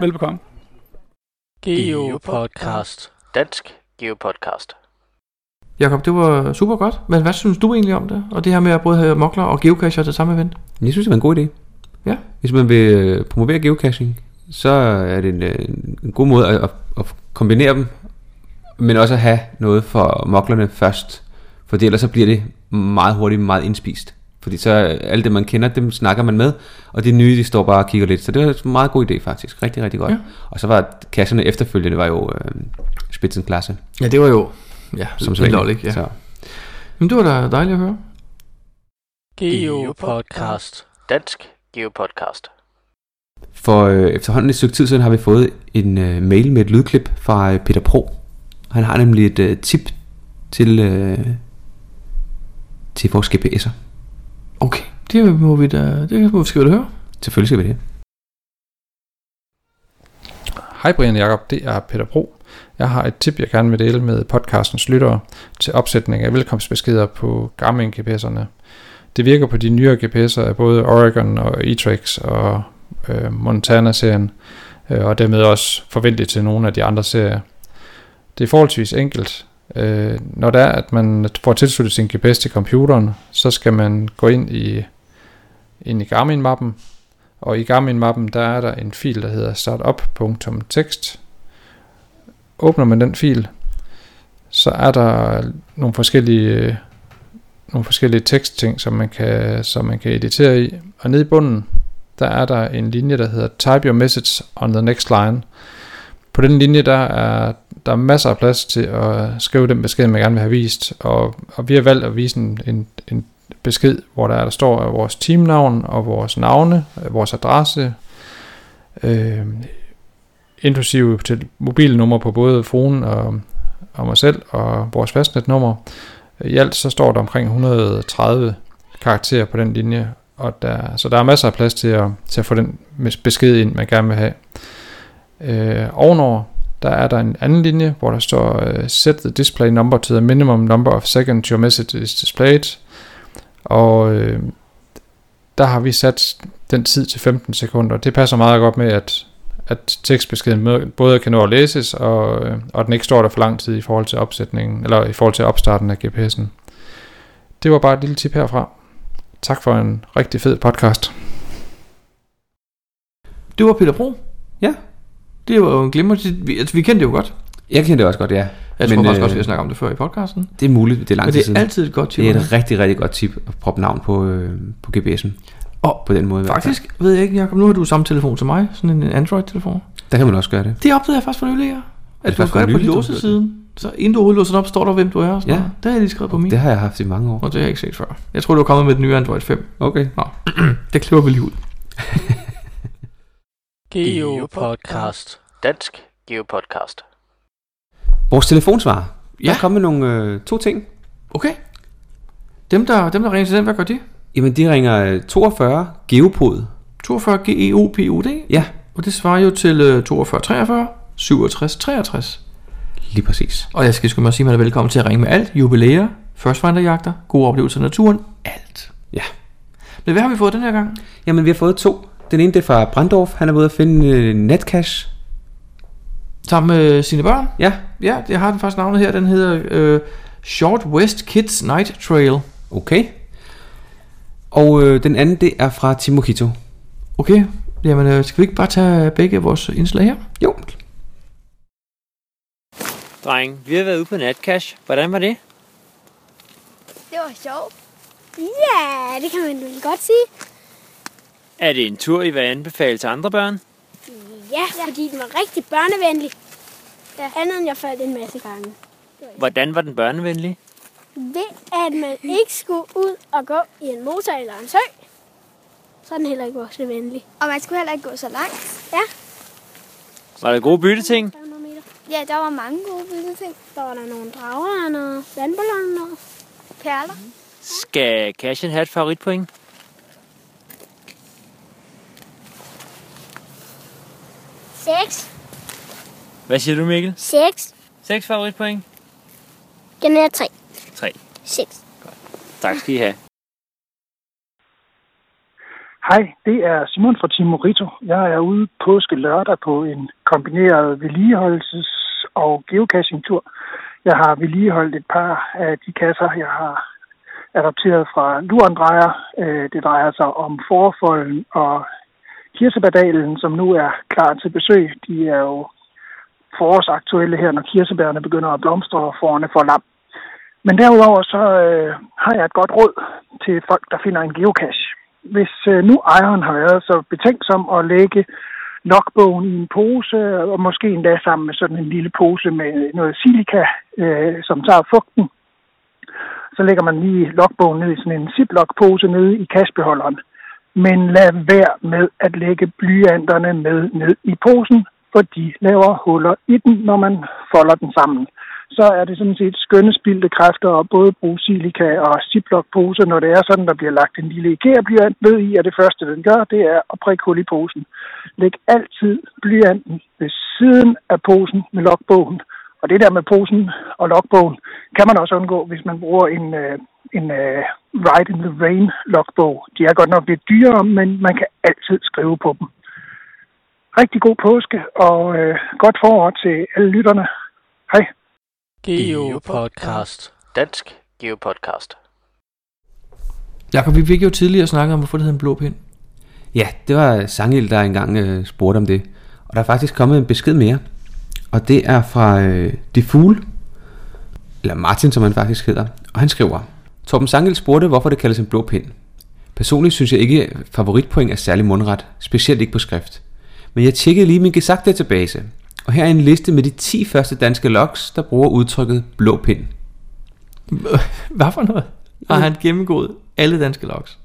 Velbekomme.
Geopodcast. Dansk Geopodcast.
Jakob, det var super godt, men hvad synes du egentlig om det? Og det her med at både have mokler og geocacher til samme event?
Jeg synes, det var en god idé.
Ja.
Hvis man vil øh, promovere geocaching, så er det en, øh, en god måde at, at, at kombinere dem, men også at have noget for moklerne først, for ellers så bliver det meget hurtigt meget indspist. Fordi så øh, alle dem, man kender, dem snakker man med, og de nye, de står bare og kigger lidt. Så det var en meget god idé faktisk. Rigtig, rigtig godt.
Ja.
Og så var kasserne efterfølgende var jo øh, spidsenklasse.
Ja, det var jo... Ja,
som
helt
sædvanligt.
lovligt, ja.
Så.
Jamen, det var da dejligt at høre.
Geopodcast. Dansk Geopodcast.
For øh, efterhånden et stykke tid siden har vi fået en øh, mail med et lydklip fra øh, Peter Pro. Han har nemlig et øh, tip til, øh, til vores GPS'er.
Okay, det må vi da... Det må vi skal da høre.
Selvfølgelig skal vi det.
Hej Brian og Jakob, det er Peter Bro. Jeg har et tip, jeg gerne vil dele med podcastens lyttere til opsætning af velkomstbeskeder på Garmin-GPS'erne. Det virker på de nyere GPS'er af både Oregon og E-Trex og øh, Montana-serien, øh, og dermed også forventeligt til nogle af de andre serier. Det er forholdsvis enkelt. Øh, når det er, at man får tilsluttet sin GPS til computeren, så skal man gå ind i, ind i Garmin-mappen, og i Garmin-mappen, der er der en fil, der hedder startup.txt. Åbner man den fil, så er der nogle forskellige, nogle forskellige tekstting, som man, kan, som man kan editere i. Og nede i bunden, der er der en linje, der hedder Type your message on the next line. På den linje, der er, der er masser af plads til at skrive den besked, man gerne vil have vist. Og, og vi har valgt at vise en, en, en besked, hvor der, er, der står øh, vores teamnavn og vores navne, øh, vores adresse, øh, inklusive til mobilnummer på både fruen og, og mig selv og vores fastnetnummer. I alt så står der omkring 130 karakterer på den linje, og der, så der er masser af plads til at, til at få den besked ind, man gerne vil have. Øh, ovenover, der er der en anden linje, hvor der står øh, Set the display number to the minimum number of seconds your message is displayed. Og øh, der har vi sat den tid til 15 sekunder. Det passer meget godt med, at, at tekstbeskeden mø- både kan nå at læses, og, øh, og den ikke står der for lang tid i forhold til opsætningen, eller i forhold til opstarten af GPS'en. Det var bare et lille tip herfra. Tak for en rigtig fed podcast.
Det var Peter Bro. Ja. Det var jo en glimmer. Vi, altså, vi kendte det jo godt.
Jeg kender det også godt, ja.
Jeg tror faktisk også, vi har
snakker
snakket om det før i podcasten.
øh, Det er muligt, det er
Men
lang
det
tid
er
siden.
altid et godt tip,
Det er et
Anders.
rigtig, rigtig godt tip at proppe navn på, øh, på GPS'en.
Og
på den måde. i hvert fald.
Faktisk ved jeg ikke, Jacob, nu har du samme telefon til mig, sådan en Android-telefon.
Der kan man også gøre det.
Det opdagede jeg faktisk for nylig, ja.
det
At du
faktisk
gør
for
det på
nylig, du har gjort det?
låsesiden. Så inden du udlåser den op, står der, hvem du er. Og sådan
Ja.
noget. Det har jeg lige skrevet på min.
Det har jeg haft i mange år.
Og det har jeg ikke set før. Jeg tror, du var kommet med den nye Android 5.
Okay.
Nå, [clears throat] det klipper vi lige ud.
Geopodcast. Dansk Geopodcast.
Vores telefonsvarer. Ja. Der
Ja.
er kommet nogle øh, to ting.
Okay. Dem der, dem, der ringer til den, hvad gør de?
Jamen, de ringer øh, 42 Geopod.
42 GEOPOD.
Ja.
Og det svarer jo til øh, 42 43 67 63.
Lige præcis.
Og jeg skal skynde mig at sige, at man er velkommen til at ringe med alt. Jubilæer, førstranderjagter, gode oplevelser i naturen, alt.
Ja.
Men hvad har vi fået den her gang?
Jamen, vi har fået to. Den ene, det er fra Brandorf. Han er ude at finde øh, netcash.
Sammen med øh, sine børn?
Ja.
Ja, jeg har den faktisk navnet her. Den hedder øh, Short West Kids Night Trail.
Okay. Og øh, den anden, det er fra Timo Kito.
Okay, jamen øh, skal vi ikke bare tage begge vores indslag her?
Jo.
Dreng, vi har været ude på natcash. Hvordan var det?
Det var sjovt. Ja, det kan man vel godt sige.
Er det en tur, I vil anbefale til andre børn?
Ja, fordi den var rigtig børnevenlig. Ja. Andet end jeg faldt en masse gange.
Hvordan var den børnevenlig?
Ved at man ikke skulle ud og gå i en motor eller en sø, så er den heller ikke voksevenlig.
Og man skulle heller ikke gå så langt.
Ja.
Var der gode bytteting?
Ja, der var mange gode vilde ting. Der var der nogle drager og nogle vandballoner og perler.
Skal Cashen have et favoritpoint?
Seks.
Hvad siger du, Mikkel?
Seks.
Seks favoritpoint?
Den er tre.
Tre.
Seks.
Tak skal I have.
Hej, det er Simon fra Team Morito. Jeg er ude påske lørdag på en kombineret vedligeholdelses- og geocaching-tur. Jeg har vedligeholdt et par af de kasser, jeg har adopteret fra Lurendrejer. Øh, Det drejer sig om Forfolden og Kirsebærdalen, som nu er klar til besøg. De er jo forårsaktuelle her, når kirsebærne begynder at blomstre og forerne får lam. Men derudover så øh, har jeg et godt råd til folk, der finder en geocache hvis øh, nu ejeren har været så betænksom at lægge logbogen i en pose, og måske endda sammen med sådan en lille pose med noget silika, øh, som tager fugten, så lægger man lige logbogen ned i sådan en ziplock-pose nede i kassebeholderen. Men lad være med at lægge blyanterne med ned i posen, for de laver huller i den, når man folder den sammen. Så er det sådan set skønne spildte kræfter at både bruge silika og ziplock-poser, når det er sådan, der bliver lagt en lille IKEA-blyant ved i, at det første, den gør, det er at prikke hul i posen. Læg altid blyanten ved siden af posen med logbogen. Og det der med posen og logbogen, kan man også undgå, hvis man bruger en, øh, en øh, Ride in the Rain logbog. De er godt nok lidt dyrere, men man kan altid skrive på dem. Rigtig god påske, og øh, godt forår til alle lytterne. Hej.
Geopodcast. Dansk Geopodcast.
Jakob, vi fik jo tidligere snakket om, hvorfor det hedder en blå pind.
Ja, det var Sangel, der engang øh, spurgte om det. Og der er faktisk kommet en besked mere. Og det er fra øh, De Fugle, eller Martin, som han faktisk hedder. Og han skriver, Torben Sangel spurgte, hvorfor det kaldes en blå pind. Personligt synes jeg ikke, at favoritpoint er særlig mundret, specielt ikke på skrift. Men jeg tjekkede lige min Gesagt-database, og her er en liste med de 10 første danske logs, der bruger udtrykket blå pind.
Hvad for noget? Har han gennemgået alle danske logs?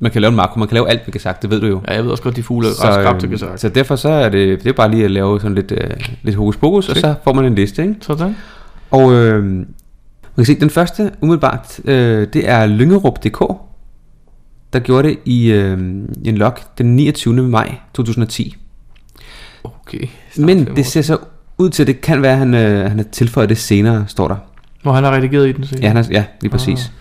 Man kan lave en makro, man kan lave alt med Gesagt, det ved du jo. øh,
Ja, jeg ved også godt, de fugle er ret skrappe til Gesagt.
Så derfor så er det, det er bare lige at lave sådan lidt, øh, lidt hokus pokus, og
Se.
så får man en liste, ikke?
Sådan.
Og øh, man kan se, den første umiddelbart, øh, det er Lyngerup.dk, der gjorde det i øh, en log den 29. maj 2010.
Okay.
Men det ser så ud til, at det kan være, at han, øh, han har tilføjet det senere, står der.
Hvor han har redigeret i den senere. Ah.
Ja, han er, ja lige præcis.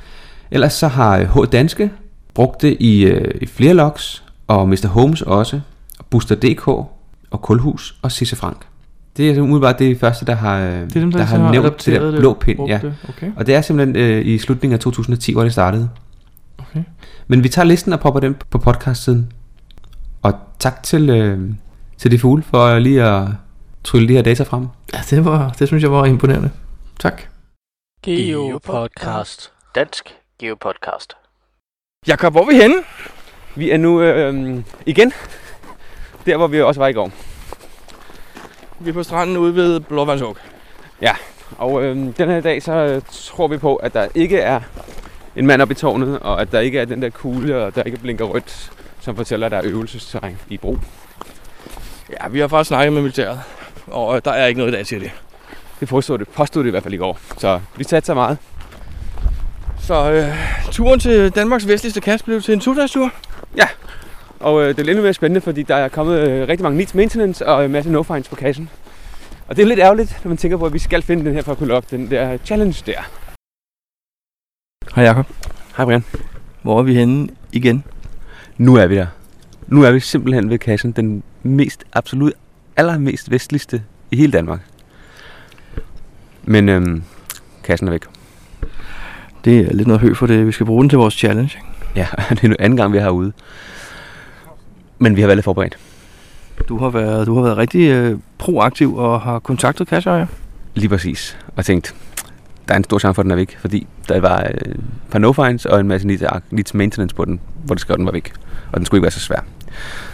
Ellers så har øh, H Danske brugt det i, øh, i flere logs, og Mr. Holmes også, og Booster.dk, og Kulhus, og Sisse Frank. Det er altså umiddelbart det første, der har, øh,
er dem, der
der
ligesom
har
har
nævnt det
adopteret
der
det,
blå pind.
brugt
Ja.
det. Okay.
Og det er simpelthen øh, i slutningen af 2010, hvor det startede. Okay. Men vi tager listen og popper den på podcastsiden. Og tak til, øh, til de fugle for lige at trylle de her data frem.
Ja, det, var, det synes jeg var imponerende. Tak.
Geopodcast. Dansk Geopodcast.
Jakob, hvor er vi henne? Vi er nu øh, øh, igen der, hvor vi også var i går.
Vi er på stranden ude ved Blåvandsåk.
Ja, og øh, den her dag, så øh, tror vi på, at der ikke er en mand oppe i tårnet, og at der ikke er den der kugle, og der ikke blinker rødt, som fortæller, at der er øvelsesterræn i brug.
Ja, vi har faktisk snakket med militæret, og øh, der er ikke noget i dag, siger de.
Det påstod det, påstod det i hvert fald i går, så vi satte så meget.
Så øh, turen til Danmarks vestligste kast blev til en tur.
Ja, og øh, det er lidt mere spændende, fordi der er kommet øh, rigtig mange needs maintenance og en masse no-finds på kassen.
Og det er lidt ærgerligt, når man tænker på, at vi skal finde den her for at kunne lukke den der challenge der.
Hej Jacob.
Hej Brian.
Hvor er vi henne igen?
Nu er vi der. Nu er vi simpelthen ved kassen, den mest absolut allermest vestligste i hele Danmark. Men øhm, kassen er væk.
Det er lidt noget hø for det. Vi skal bruge den til vores challenge. ikke?
Ja, [laughs] det er nu anden gang, vi er herude. Men vi har været lidt forberedt.
Du har været, du har været rigtig øh, proaktiv og har kontaktet kasseejer.
Lige præcis. Og tænkt, der er en stor chance for, at den er væk, fordi der var øh, et par no fines og en masse needs, needs maintenance på den, hvor det skrev, at den var væk. Og den skulle ikke være så svær.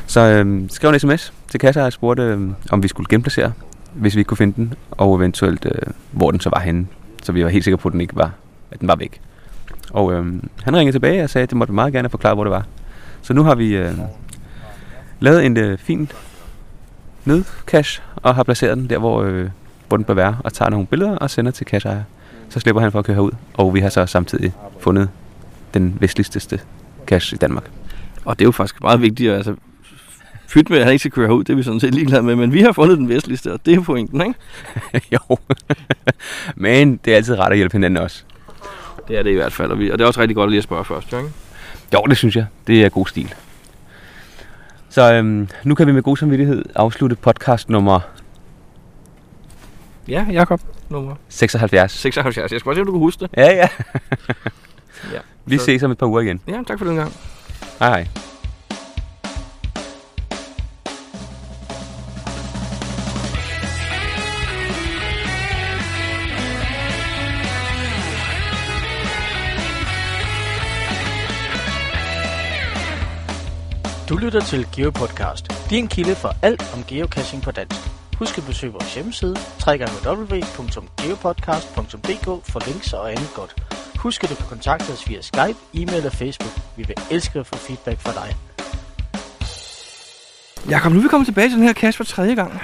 Så øh, skrev en sms til kasser og spurgte, øh, om vi skulle genplacere, hvis vi ikke kunne finde den, og eventuelt, øh, hvor den så var henne. Så vi var helt sikre på, at den ikke var, at den var væk. Og øh, han ringede tilbage og sagde, at det måtte vi meget gerne forklare, hvor det var. Så nu har vi øh, lavet en øh, fin nødcash og har placeret den der, hvor, øh, hvor den bør være, og tager nogle billeder og sender til kasseejer. Så slipper han for at køre herud, og vi har så samtidig fundet den vestligste cash i Danmark.
Og det er jo faktisk meget vigtigt. Altså, pyt med, at han ikke skal køre herud, det er vi sådan set ligeglade med. Men vi har fundet den vestligste, og det er pointen, ikke?
[laughs]
jo. Men det er altid rart at hjælpe hinanden også.
[laughs] Det er det i hvert fald, og, vi, og det er også rigtig godt lige at spørge først, ikke?
Jo, det synes jeg. Det er god stil. Så øhm, nu kan vi med god samvittighed afslutte podcast nummer
Ja, Jakob. Nummer
76.
76. Jeg skal bare se, om du kan huske det.
Ja, ja.
Ja.
Vi ses om et par uger igen.
Ja, tak for den gang.
Hej hej.
Du lytter til GeoPodcast, din kilde for alt om geocaching på dansk. Husk at besøge vores hjemmeside, www.geopodcast.dk for links og andet godt. Husk at du kan kontakte os via Skype, e-mail og Facebook. Vi vil elske at få feedback fra dig.
Jakob, nu er vi kommet tilbage til den her kasse for tredje gang.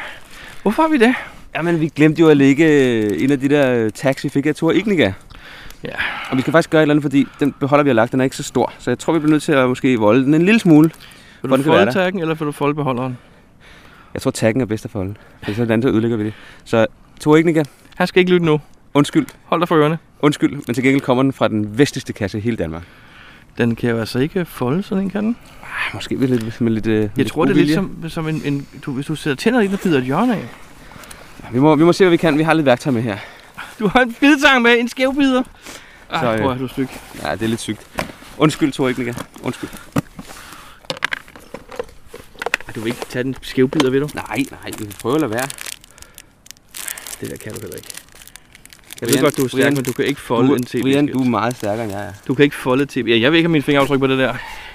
Hvorfor har vi det?
Jamen, vi glemte jo at lægge øh, en af de der tags, vi fik af Tor Ignica.
Ja.
Og vi skal faktisk gøre et eller andet, fordi den beholder, vi har lagt, den er ikke så stor. Så jeg tror, vi bliver nødt til at måske volde den en lille smule.
Vil
for
du
den kan være
folde
der.
taggen, eller vil du folde beholderen?
Jeg tror, taggen er bedst at folde. For sådan så ødelægger vi det. Så Tor Ignica.
Han skal ikke lytte nu.
Undskyld.
Hold dig for ørerne.
Undskyld, men til gengæld kommer den fra den vestligste kasse i hele Danmark.
Den kan jo altså ikke folde, sådan en kan den.
Ah, måske med lidt, med lidt øh,
Jeg
lidt
tror, det er lidt
uvilje.
som, som en, en du, hvis du sætter tænder i den og bider et hjørne af.
Vi må, vi må se, hvad vi kan. Vi har lidt værktøj med her.
Du har en bidtang med, en skævbider. Ej,
Så,
så,
øh,
prøv at du stykke.
Ja, det er lidt sygt. Undskyld, Tor Ignica. Undskyld.
Du vil ikke tage den skævbider, ved du?
Nej, nej, vi prøver at lade være.
Det der kan du heller ikke. Jeg ved godt, du er stærk, men du kan ikke folde
du,
en tv
Brian, du er meget stærkere end jeg er.
Du kan ikke folde tv. Ja, jeg ved ikke, om mine fingeraftryk på det der.